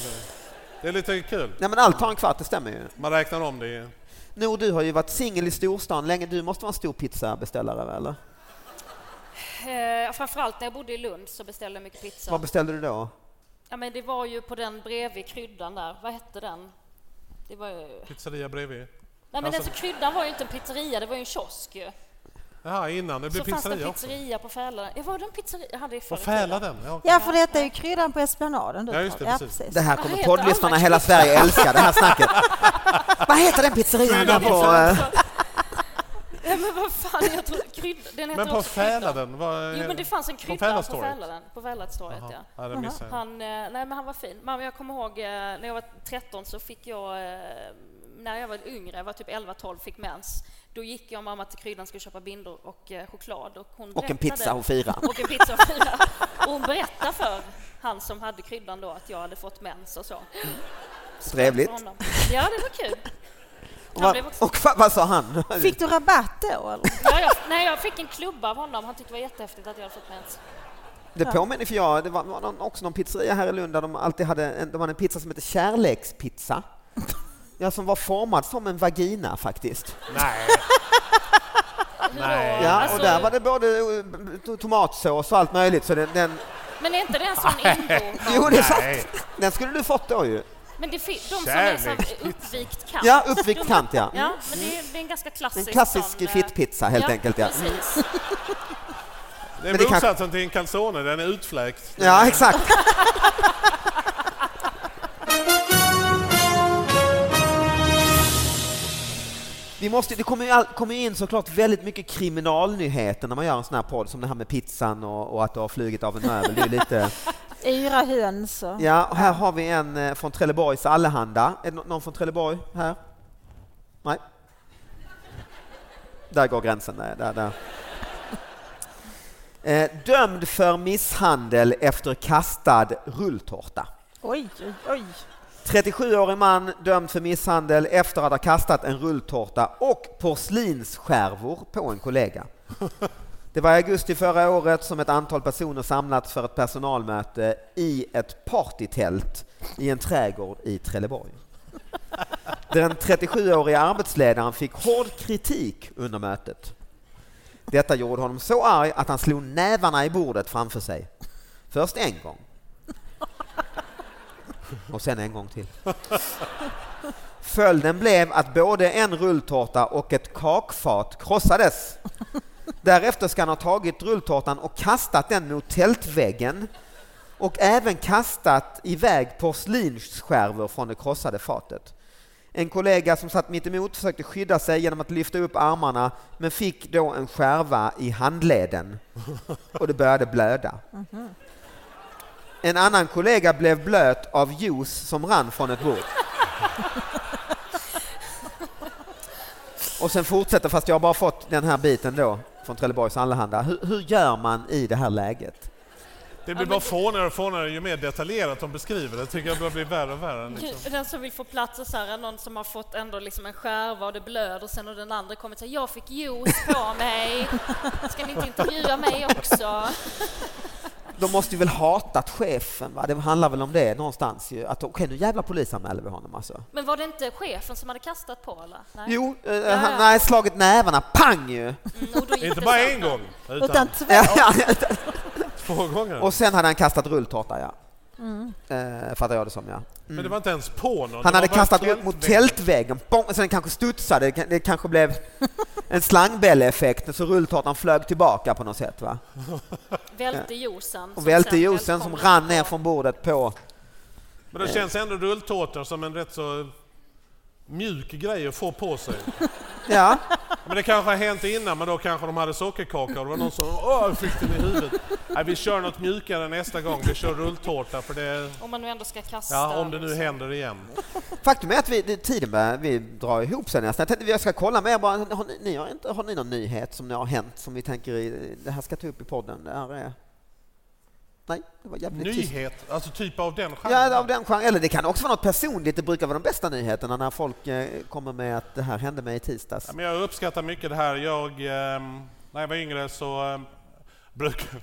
Speaker 3: Det är lite kul.
Speaker 4: Nej men allt tar en kvart, det stämmer ju.
Speaker 3: Man räknar om det. i-
Speaker 4: Nor, du har ju varit singel i storstan länge. Du måste vara en stor pizzabeställare va, eller?
Speaker 6: Eh, framförallt när jag bodde i Lund så beställde jag mycket
Speaker 4: Vad
Speaker 6: pizza.
Speaker 4: beställde du då?
Speaker 6: Ja, men det var ju på den bredvid kryddan där. Vad hette den? Det var ju...
Speaker 3: Pizzeria bredvid.
Speaker 6: Nej, men
Speaker 3: Alltså-
Speaker 6: alltså, kryddan var ju inte en pizzeria, det var ju en kiosk ju.
Speaker 3: Jaha, innan det blev
Speaker 6: Så fanns det
Speaker 3: pizzeria
Speaker 6: en
Speaker 3: också.
Speaker 6: pizzeria på Fälaren. Ja, var det en pizzeria? Jag hade det
Speaker 3: Och
Speaker 6: förut.
Speaker 3: fäla den. Ja, okej.
Speaker 5: ja för detta är ju kryddan på Esplanaden. Du
Speaker 3: Ja, just det,
Speaker 5: tar.
Speaker 3: precis.
Speaker 4: Det här
Speaker 6: Vad heter
Speaker 4: kommer
Speaker 6: Liksom
Speaker 4: poddlyssnarna
Speaker 6: annars
Speaker 4: i hela Sverige älska, det här snacket. Vad heter den pizzerian där på... eh,
Speaker 6: Ja, men vad fan, jag tror krydda... Den heter
Speaker 3: Men på
Speaker 6: också kryddan.
Speaker 3: fäla den? Vad,
Speaker 6: Jo, men det fanns en
Speaker 3: på
Speaker 6: krydda på
Speaker 3: Fälatorget?
Speaker 6: Fälaren. På Fäladstorget,
Speaker 3: Jaha.
Speaker 6: ja.
Speaker 3: Ja, det missade jag.
Speaker 6: Han, eh, nej, men han var fin. Men jag kommer ihåg eh, när jag var 13 så fick jag, eh, när jag var yngre, jag var typ 11-12, fick mens. Då gick jag och mamma till kryddan skulle köpa bindor och eh, choklad. Och, hon
Speaker 4: Och en
Speaker 6: berättade-
Speaker 4: pizza och fira.
Speaker 6: Och en pizza och fira. Och hon berättade för han som hade kryddan då att jag hade fått mens och så.
Speaker 4: Trevligt.
Speaker 6: För honom. Ja, det var kul. Han
Speaker 4: Och, vad,
Speaker 6: blev också-
Speaker 4: och vad, vad sa han?
Speaker 5: Fick du rabatt då eller?
Speaker 6: Ja, jag, nej, jag fick en klubba av honom. Han tyckte det var jättehäftigt att jag hade fått mens.
Speaker 4: Det påminner för jag, det var, var någon, också någon pizzeria här i Lund där de alltid hade en, de hade en pizza som hette kärlekspizza. Ja, som var formad som en vagina faktiskt.
Speaker 3: Nej. Nej.
Speaker 4: Ja,
Speaker 6: Alltså-
Speaker 4: och där var det både eh, tomatsås och allt möjligt. Så den, den,
Speaker 6: Men är inte det en sån indo?
Speaker 4: jo, det är
Speaker 3: Nej.
Speaker 4: sant. Den skulle du fått då ju.
Speaker 6: Men det finns de som är så här
Speaker 3: Kärlek.
Speaker 6: uppvikt kant.
Speaker 4: Ja, uppvikt kant, ja.
Speaker 6: Ja, men det är, det är en ganska klassisk
Speaker 4: En klassisk
Speaker 6: sån, eh,
Speaker 4: fittpizza, helt
Speaker 6: ja,
Speaker 4: enkelt, ja.
Speaker 6: Precis.
Speaker 3: Det
Speaker 4: Men
Speaker 3: är
Speaker 4: det kan-
Speaker 3: motsatsen till en calzone, den är utfläkt.
Speaker 4: Ja, exakt. Vi måste, det kommer ju, all, kommer ju in såklart väldigt mycket kriminalnyheter när man gör en sån här podd som det här med pizzan och, och att du har flugit av en möbel. Det är ju lite...
Speaker 5: Yra höns och...
Speaker 4: Ja, och här har vi en eh, från Trelleborgs Allehanda. Är det nå- någon från Trelleborg här? Nej. Där går gränsen. Där, där, där. Eh, dömd för misshandel efter kastad rulltårta.
Speaker 5: Oj, oj, oj.
Speaker 4: 37-årig man dömd för misshandel efter att ha kastat en rulltårta och porslinsskärvor på en kollega. Det var i augusti förra året som ett antal personer samlats för ett personalmöte i ett partytält i en trädgård i Trelleborg. Den 37-åriga arbetsledaren fick hård kritik under mötet. Detta gjorde honom så arg att han slog nävarna i bordet framför sig. Först en gång. Och sen en gång till. Följden blev att både en rulltårta och ett kakfat krossades. Därefter ska han ha tagit rulltårtan och kastat den mot tältväggen och även kastat iväg porslinsskärvor från det krossade fatet. En kollega som satt mitt emot försökte skydda sig genom att lyfta upp armarna men fick då en skärva i handleden och det började blöda. En annan kollega blev blöt av juice som rann från ett bord. Och sen fortsätter, fast jag har bara fått den här biten då från Trelleborgs Allehanda. Hur, hur gör man i det här läget?
Speaker 3: Det blir bara fånigare och fånigare ju mer detaljerat de beskriver det. tycker jag bara blir värre och värre. Liksom.
Speaker 6: Gud, Den som vill få plats och så här, någon som har fått ändå liksom en skärva och det blöder sen och den andra kommer och säger jag fick juice på mig. Ska ni inte intervjua mig också?
Speaker 4: De måste ju väl hatat chefen, va? det handlar väl om det någonstans ju. Att okej, nu jävla polisanmäler vi honom alltså.
Speaker 6: Men var det inte chefen som hade kastat på eller? Nej.
Speaker 4: Jo, eh,
Speaker 6: Ja,
Speaker 4: han
Speaker 6: ja.
Speaker 4: nej, slagit nävarna, pang ju!
Speaker 6: Mm, och då gick
Speaker 3: Inte
Speaker 6: det
Speaker 3: bara
Speaker 6: sönder.
Speaker 3: en gång, utan,
Speaker 5: Utan två.
Speaker 4: Ja, ja.
Speaker 3: två gånger.
Speaker 4: Och sen hade han kastat rulltårta, ja.
Speaker 5: Mm.
Speaker 4: Eh, fattar jag det som, ja.
Speaker 3: Men det var inte ens på någon.
Speaker 4: Han
Speaker 3: det
Speaker 4: hade
Speaker 3: var bara
Speaker 4: kastat upp mot
Speaker 3: tältvägg.
Speaker 4: tältväggen, bong, så den kanske studsade. Det kan- Det kanske blev en slangbälleeffekt, så rulltårtan flög tillbaka på något sätt. Va?
Speaker 6: Välte juicen.
Speaker 4: Och välte
Speaker 6: sen
Speaker 4: juicen som
Speaker 6: välkomnar-
Speaker 4: rann ner från bordet på...
Speaker 3: Men det känns ändå rulltårtan som en rätt så mjuk grej att få på sig.
Speaker 4: Ja,
Speaker 3: Men det kanske har hänt innan, men då kanske de hade sockerkaka och det var någon som åh, fick den i huvudet. Nej, vi kör något mjukare nästa gång. Vi kör rulltårta för det...
Speaker 6: Om man nu ändå ska kasta.
Speaker 3: Ja, om det nu händer igen.
Speaker 4: faktum är att vi, det- tiden börjar, vi drar ihop sig nästan. Jag tänkte jag ska kolla med er bara, har ni, ni har, inte, har ni någon nyhet som ni har hänt som vi tänker i, det här ska jag ta upp i podden? Det här är... Nej, det var jävligt tyst.
Speaker 3: Nyhet, alltså typ av den genren.
Speaker 4: Ja, av den genren. Eller det kan också vara något personligt. Det brukar vara de bästa nyheterna när folk eh, kommer med att det här hände mig i tisdags.
Speaker 3: Ja, men jag uppskattar mycket det här. Jag, ehm, när jag var yngre så ehm, brukade...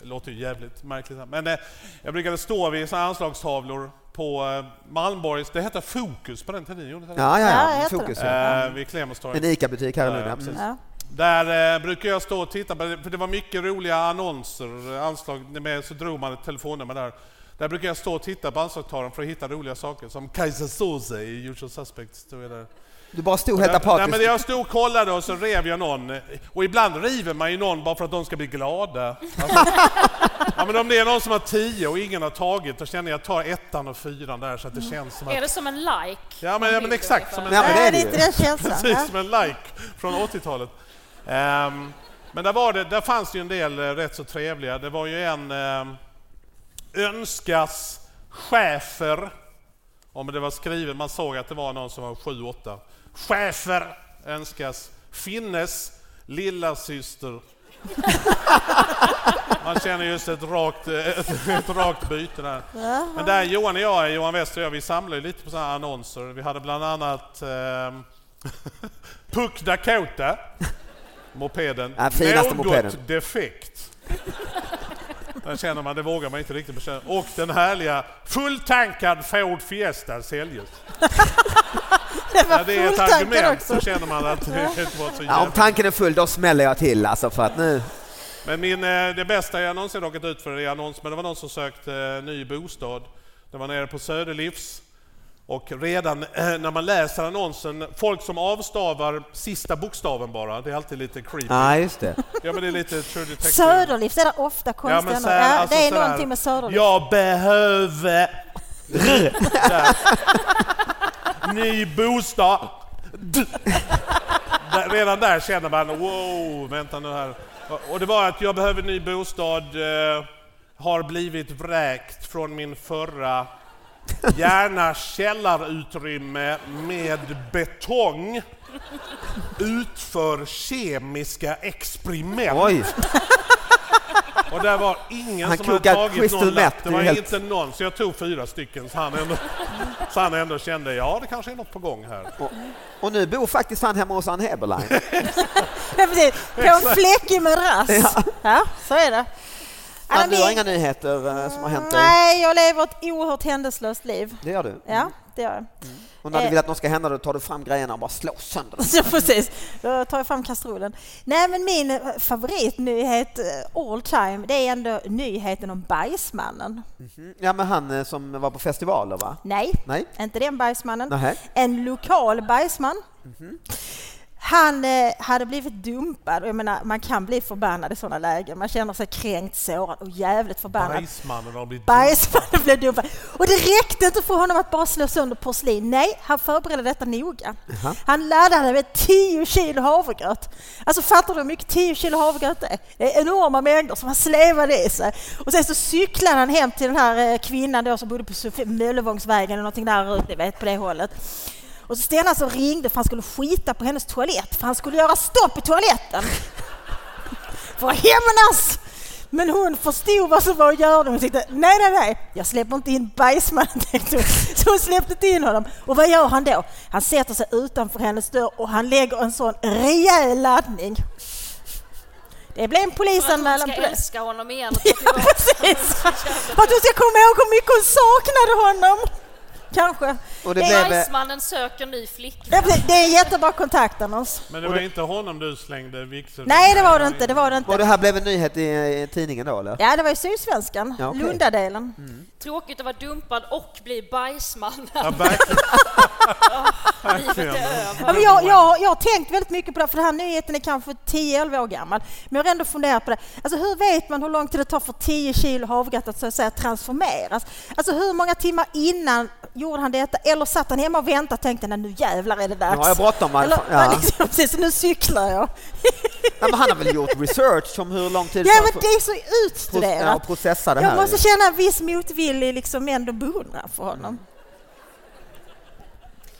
Speaker 3: Det låter ju jävligt märkligt här. Men eh, jag brukade stå vid såna här anslagstavlor på eh, Malmborgs... Det hette Fokus på den tiden, gjorde det inte det?
Speaker 4: Ja,
Speaker 5: Ja,
Speaker 4: ja, ja.
Speaker 5: jag tror
Speaker 4: Fokus.
Speaker 5: det.
Speaker 4: ja.
Speaker 3: Eh, vid Clemens torg.
Speaker 4: En ICA-butik här i
Speaker 3: Ja,
Speaker 4: Lund.
Speaker 3: ja,
Speaker 4: ja.
Speaker 3: precis.
Speaker 4: Mm.
Speaker 5: Ja.
Speaker 3: Där eh, brukar jag stå och titta på det, för det var mycket roliga annonser, eh, anslag, med, så drog man ett telefonnummer där. Där brukar jag stå och titta på anslagstavlan för att hitta roliga saker, som Kajsa Soze i Usual Suspects. Stod jag där.
Speaker 4: Du bara stod helt
Speaker 3: Nej, men
Speaker 4: apatiskt.
Speaker 3: jag stod och kollade och så rev jag någon. Och ibland river man ju någon bara för att de ska bli glada. Alltså, ja, men om det är någon som har tio och ingen har tagit, då känner jag att jag tar ettan och fyran där så att det känns som att...
Speaker 6: Är det som en like?
Speaker 3: Ja, men, ja, men exakt. Som en
Speaker 4: Ja, men det
Speaker 5: Nej,
Speaker 4: är
Speaker 5: det
Speaker 4: det
Speaker 5: är
Speaker 4: ju.
Speaker 5: inte den känslan.
Speaker 3: Precis
Speaker 5: Ja.
Speaker 3: som en like från 80-talet. Ehm, men där, var det, där fanns det ju en del eh, rätt så trevliga. Det var ju en ehm, Önskas chefer. Om det var skrivet, man såg att det var någon som var 7-8. Chefer önskas finnes lilla syster. Man känner just ett rakt, ett, ett rakt byte där. Men där Johan och jag, Johan Wester och jag, vi samlar ju lite på sådana här annonser. Vi hade bland annat ehm, Puck Dakota, mopeden.
Speaker 4: Ja, finaste
Speaker 3: Något
Speaker 4: mopeden.
Speaker 3: defekt. Där känner man, det vågar man inte riktigt bekänna. Och den härliga fulltankad Ford Fiesta säljes.
Speaker 5: Det var
Speaker 3: När det är ett
Speaker 5: fulltankad
Speaker 3: argument
Speaker 5: också.
Speaker 3: så känner man att det var så
Speaker 4: Ja, om
Speaker 3: jävla...
Speaker 4: tanken är full, då smäller jag till alltså för att nu...
Speaker 3: Men min, eh, det bästa jag någonsin råkat ut för är annons, men det var någon som sökte eh, ny bostad. Det var nere på Söderlivs. Och redan eh, när man läser annonsen, folk som avstavar sista bokstaven bara, det är alltid lite creepy.
Speaker 4: Ja, just det.
Speaker 3: Ja men det är lite true detective.
Speaker 5: Söderlivs, det är där ofta
Speaker 3: Ja,
Speaker 5: konstiga
Speaker 3: men så
Speaker 5: namn.
Speaker 3: här,
Speaker 5: Ja,
Speaker 3: alltså
Speaker 5: Det är
Speaker 3: så här,
Speaker 5: någonting med Söderlivs.
Speaker 3: Jag behöver... Där. Ny bostad. D. Där- Redan där känner man, wow, vänta nu här. Och det var att jag behöver ny bostad, eh, har blivit vräkt från min förra. Gärna källarutrymme med betong. Utför kemiska experiment.
Speaker 4: Oj!
Speaker 3: Och där var ingen
Speaker 4: Han
Speaker 3: som hade
Speaker 4: kokar
Speaker 3: tagit
Speaker 4: crystal
Speaker 3: någon lapp.
Speaker 4: meth,
Speaker 3: Det
Speaker 4: det är
Speaker 3: var
Speaker 4: helt-
Speaker 3: inte någon, så jag tog fyra stycken så han, ändå, så han ändå kände, ja det kanske är något på gång här.
Speaker 4: Och, och nu bor faktiskt han hemma hos Ann Heberlein.
Speaker 5: Ja, precis. På en fläckig madrass. Ja. så är det.
Speaker 4: Ann, du
Speaker 5: men
Speaker 4: har
Speaker 5: vi-
Speaker 4: inga nyheter eh, som har hänt dig?
Speaker 5: Nej, jag lever ett oerhört händelselöst liv.
Speaker 4: Det gör du. Mm.
Speaker 5: Ja, det gör jag.
Speaker 4: Och när du
Speaker 5: Eh.
Speaker 4: vill att något ska hända, då tar du fram grejerna och bara slår sönder dem.
Speaker 5: Så precis, då tar jag fram kastrullen. Nej men min eh, favoritnyhet eh, all time, det är ändå nyheten om bajsmannen.
Speaker 4: Mhm. Ja, men han eh, som var på festivaler, va?
Speaker 5: Nej,
Speaker 4: Nej?
Speaker 5: inte Eh, den bajsmannen.
Speaker 4: Nej.
Speaker 5: En lokal bajsman. Han eh, hade blivit dumpad och jag menar, man kan bli förbannad i sådana lägen. Man känner sig kränkt, sårad och jävligt förbannad.
Speaker 3: Bajsmannen har blivit
Speaker 5: Bajsmannen blev dumpad. Och det räckte inte för honom att bara slå sönder porslin. Nej, han förberedde detta noga. Han laddade med 10 kilo havregröt. Alltså fattar du hur mycket 10 kilo havregröt är? Det är enorma mängder som han slevade i sig. Och sen så cyklade han hem till den här eh, kvinnan då som bodde på Sofie- Möllevångsvägen eller någonting där ute, vet, på det hållet. Och så Sten alltså ringde för han skulle skita på hennes toalett, för han skulle göra stopp i toaletten för att hämnas! Men hon förstod vad som var att göra och hon tänkte nej, nej, nej, jag släpper inte in bajsmannen. tänkte hon. Så hon släppte inte in honom. Och vad gör han då? Han sätter sig utanför hennes dörr och han lägger en sån rejäl laddning. Det blev en
Speaker 6: För att hon
Speaker 5: polisanmälan
Speaker 6: ska
Speaker 5: på det.
Speaker 6: älska honom igen. Och ta
Speaker 5: Ja,
Speaker 6: tillbaka
Speaker 5: precis!
Speaker 6: honom. Så jävla-
Speaker 5: För att hon ska komma ihåg hur mycket hon saknade honom. Kanske.
Speaker 4: Och
Speaker 6: Det
Speaker 4: det blev... eh,
Speaker 6: Bajsmannen söker ny
Speaker 5: Det
Speaker 6: flickvän.
Speaker 5: blir- det är en jättebra kontaktannons.
Speaker 3: Men det var inte honom du slängde vigseln
Speaker 5: Nej, det var det inte. Det var det
Speaker 4: Och det
Speaker 5: inte.
Speaker 4: här blev en nyhet i, i tidningen då eller?
Speaker 5: Ja, det var i Sydsvenskan,
Speaker 4: Ja, okej. Mm.
Speaker 5: Lundadelen.
Speaker 6: Tråkigt att vara dumpad och bli bajsmannen.
Speaker 3: Ja, verkligen.
Speaker 6: Livet är över.
Speaker 5: Ja, men jag, jag, jag har tänkt väldigt mycket på det, för den här nyheten är kanske 10-11 år gammal. Men jag har ändå funderat på det. Alltså hur vet man hur lång tid det tar för 10 kilo havgatt att så att säga transformeras? Alltså hur många timmar innan gjorde han detta? Eller satt han hemma och väntade och tänkte "Nej, nu jävlar är det dags?
Speaker 4: Nu har jag bråttom, i alla
Speaker 5: Eller,
Speaker 4: fall. Ja.
Speaker 5: liksom, precis, nu cyklar jag.
Speaker 4: Nej, men han har väl gjort research om hur lång tid
Speaker 5: Ja,
Speaker 4: tar
Speaker 5: men
Speaker 4: för-
Speaker 5: det är så
Speaker 4: Pro- ja,
Speaker 5: utstuderat.
Speaker 4: processa det här.
Speaker 5: Jag måste
Speaker 4: ju.
Speaker 5: känna en viss motvillig liksom ändå beundran för honom.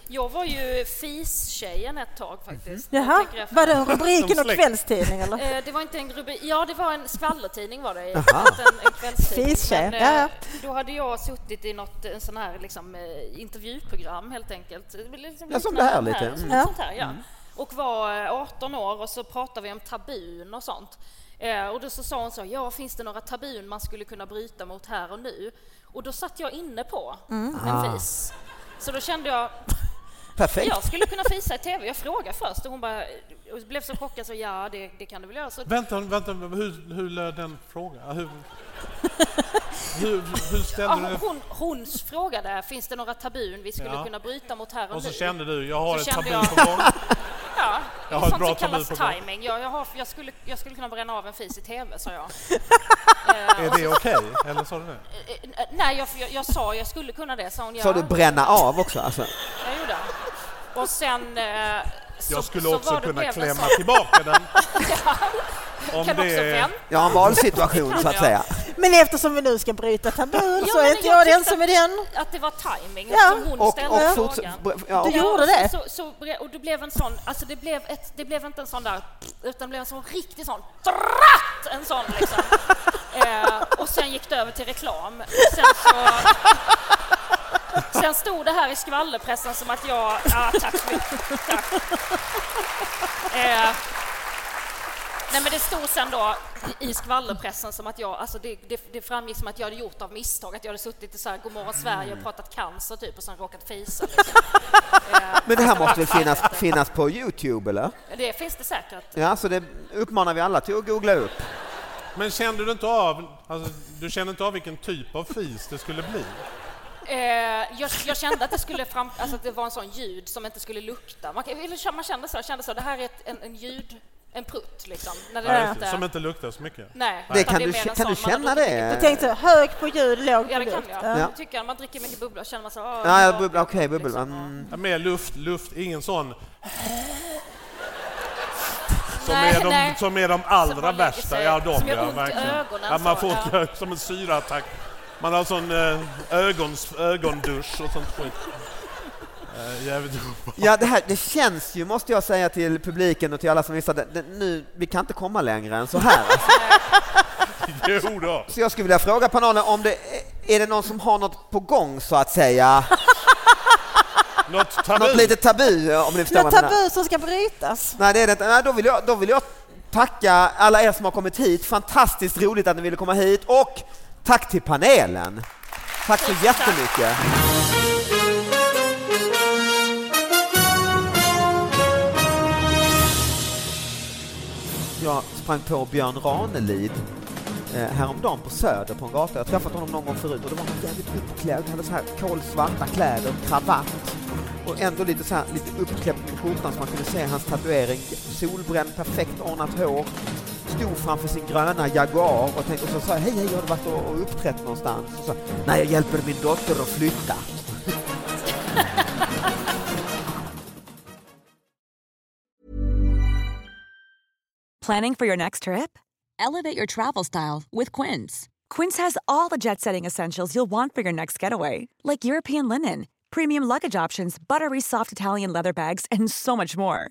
Speaker 6: Jag var ju fis-tjejen ett tag faktiskt. Jag
Speaker 5: Jaha,
Speaker 6: tänker efter.
Speaker 5: var det rubriken och
Speaker 3: släkt.
Speaker 5: kvällstidning eller?
Speaker 6: Eh, Det var inte en rubrik, ja det var en skvallertidning var det,
Speaker 4: Jaha.
Speaker 6: inte en, en kvällstidning.
Speaker 5: Fis-tjej,
Speaker 6: Men,
Speaker 5: ja,
Speaker 6: eh,
Speaker 5: ja.
Speaker 6: Då hade jag suttit i något en sån här liksom, eh, intervjuprogram helt enkelt. Det blir liksom
Speaker 4: Ja, som
Speaker 6: liknande
Speaker 4: det här lite.
Speaker 6: som
Speaker 5: Mm.
Speaker 6: ett sånt här, ja. Och var eh, 18 år och så pratade vi om tabun och sånt. Eh, Och då så sa hon så, ja finns det några tabun man skulle kunna bryta mot här och nu? Och då satt jag inne på
Speaker 5: Mm.
Speaker 4: Ah,
Speaker 6: en fis. Så då kände jag,
Speaker 4: Perfekt.
Speaker 6: jag skulle kunna fisa i TV. Jag frågade först och hon bara, och blev så chockad så ja det, det kan du väl göra. Så
Speaker 3: Vänta, vänta, hur, hur löd den frågan? Hur, hur, hur ställde
Speaker 6: Ja,
Speaker 3: du den?
Speaker 6: hon, hon frågade, finns det några tabun vi skulle
Speaker 3: Ja.
Speaker 6: kunna bryta mot här och,
Speaker 3: Och så
Speaker 6: nu?
Speaker 3: kände du, jag har
Speaker 6: Så
Speaker 3: ett
Speaker 6: kände
Speaker 3: tabu
Speaker 6: jag-
Speaker 3: på gång.
Speaker 6: ja,
Speaker 3: Jag
Speaker 6: jag
Speaker 3: har ett
Speaker 6: sånt
Speaker 3: bra
Speaker 6: som
Speaker 3: tabu
Speaker 6: kallas
Speaker 3: på gång.
Speaker 6: timing. Jag, jag, har, jag, skulle, jag skulle kunna bränna av en fis i TV, sa jag.
Speaker 3: Är det okej? Eller sa du det?
Speaker 6: Eh, eh, Nej, jag, jag, jag sa jag skulle kunna det, sa hon. Ja,
Speaker 4: Sa du bränna av också alltså?
Speaker 6: jag gjorde. Och sen... eh, Så,
Speaker 3: Jag skulle
Speaker 6: så
Speaker 3: också
Speaker 6: var det
Speaker 3: kunna
Speaker 6: blev en
Speaker 3: klämma
Speaker 6: sån-
Speaker 3: tillbaka den.
Speaker 6: kan
Speaker 3: Om
Speaker 6: också
Speaker 3: det är...
Speaker 6: vänta.
Speaker 4: Ja, en valsituation så att
Speaker 6: Ja.
Speaker 4: säga.
Speaker 5: Men eftersom vi nu ska bryta tabun
Speaker 6: Ja,
Speaker 5: så är
Speaker 6: men
Speaker 5: inte jag den
Speaker 6: tyckte
Speaker 5: som är den.
Speaker 6: Att, att det var timing,
Speaker 5: Ja.
Speaker 6: som hon
Speaker 4: Och-
Speaker 6: ställde
Speaker 4: och
Speaker 6: frågan.
Speaker 4: forts- br- ja. Du
Speaker 5: gjorde
Speaker 6: och så-
Speaker 5: det?
Speaker 6: Så, så, bre- och det blev en sån, alltså det blev, ett, det blev inte en sån där, utan det blev en sån riktig sån, dratt, en sån liksom. eh, och sen gick det över till reklam. Och Sen så... Sen stod det här i skvallerpressen som att jag... Ja, tack så mycket. Tack. Eh, Nej men det stod sen då i skvallerpressen som att jag, alltså det, det, det framgick som att jag hade gjort av misstag, att jag hade suttit i så här Godmorgon Sverige och pratat cancer typ och sen råkat fisa. Liksom. Eh,
Speaker 4: Men det här måste väl finnas, finnas på Youtube eller?
Speaker 6: Det finns det säkert.
Speaker 4: Ja, så det uppmanar vi alla till att googla upp.
Speaker 3: Men kände du inte av, alltså, du kände inte av vilken typ av fis det skulle bli?
Speaker 6: Eh, jag, jag kände att det skulle fram, alltså att det var en sån ljud som inte skulle lukta. Man, kan- eller man kände så, här, kände så, här, det här är ett, en, en ljud, en prutt liksom. När det
Speaker 3: Nej,
Speaker 6: inte,
Speaker 3: Som inte luktar så mycket?
Speaker 6: nej,
Speaker 4: Det
Speaker 6: utan
Speaker 4: kan,
Speaker 6: är
Speaker 4: du,
Speaker 6: mer en sån
Speaker 4: kä- kan du
Speaker 6: man
Speaker 4: känna
Speaker 6: har druckit
Speaker 4: det?
Speaker 5: Jag tänkte hög på ljud, låg
Speaker 6: lite- Ja, det
Speaker 5: på
Speaker 6: kan
Speaker 5: luft.
Speaker 6: jag.
Speaker 5: Ja.
Speaker 4: Ja.
Speaker 6: Jag tycker man dricker mycket bubbla och känner man så... ah,
Speaker 4: Ja,
Speaker 6: jag-
Speaker 4: ja, bubbla, okej, bubbla.
Speaker 6: liksom,
Speaker 4: Mm.
Speaker 3: Ja, Mer luft, luft, ingen sån som,
Speaker 6: Nej,
Speaker 3: är, de,
Speaker 6: nej.
Speaker 3: som är de allra
Speaker 6: man lägger
Speaker 3: värsta.
Speaker 6: sig-
Speaker 3: Ja, de
Speaker 6: som gör
Speaker 3: ja,
Speaker 6: ont i
Speaker 3: verkligen.
Speaker 6: ögonen
Speaker 3: Ja, man
Speaker 6: så,
Speaker 3: får
Speaker 6: ja.
Speaker 3: ont som en syraattack. Man har sån eh, ögons, ögondusch och sånt skit. Eh, jävligt obehagligt.
Speaker 4: Ja, det, här, det känns ju, måste jag säga till publiken och till alla som lyssnade, det, nu, vi kan inte komma längre än så här. Alltså.
Speaker 3: Jo då.
Speaker 4: Så jag skulle vilja fråga panelen om det, är det någon som har något på gång så att säga?
Speaker 3: Något tabu.
Speaker 4: Något litet tabu om ni förstår
Speaker 5: Något
Speaker 4: vad jag menar.
Speaker 5: tabu som ska brytas.
Speaker 4: Nej, det är det inte. Nej, då, vill jag, då vill jag tacka alla er som har kommit hit. Fantastiskt roligt att ni ville komma hit och tack till panelen. Tack så jättemycket. Jag sprang på Björn Ranelid eh, häromdagen på Söder på en gata. Jag har träffat honom någon gång förut och det var han jävligt uppklädd. Han hade så här kolsvarta kläder, kravatt och ändå lite, så här, lite uppkläppt på skjortan så man kunde se hans tatuering. Solbränd, perfekt ordnat hår. Stod framför sin gröna Jaguar och tänkte och så sa jag, hej hej, har du varit och, och uppträtt någonstans? Och så, Nej, jag hjälper min dotter att flytta.
Speaker 8: Planning for your next trip? Elevate your travel style with Quince. Quince has all the jet setting essentials you'll want for your next getaway, like European linen, premium luggage options, buttery soft Italian leather bags, and so much more.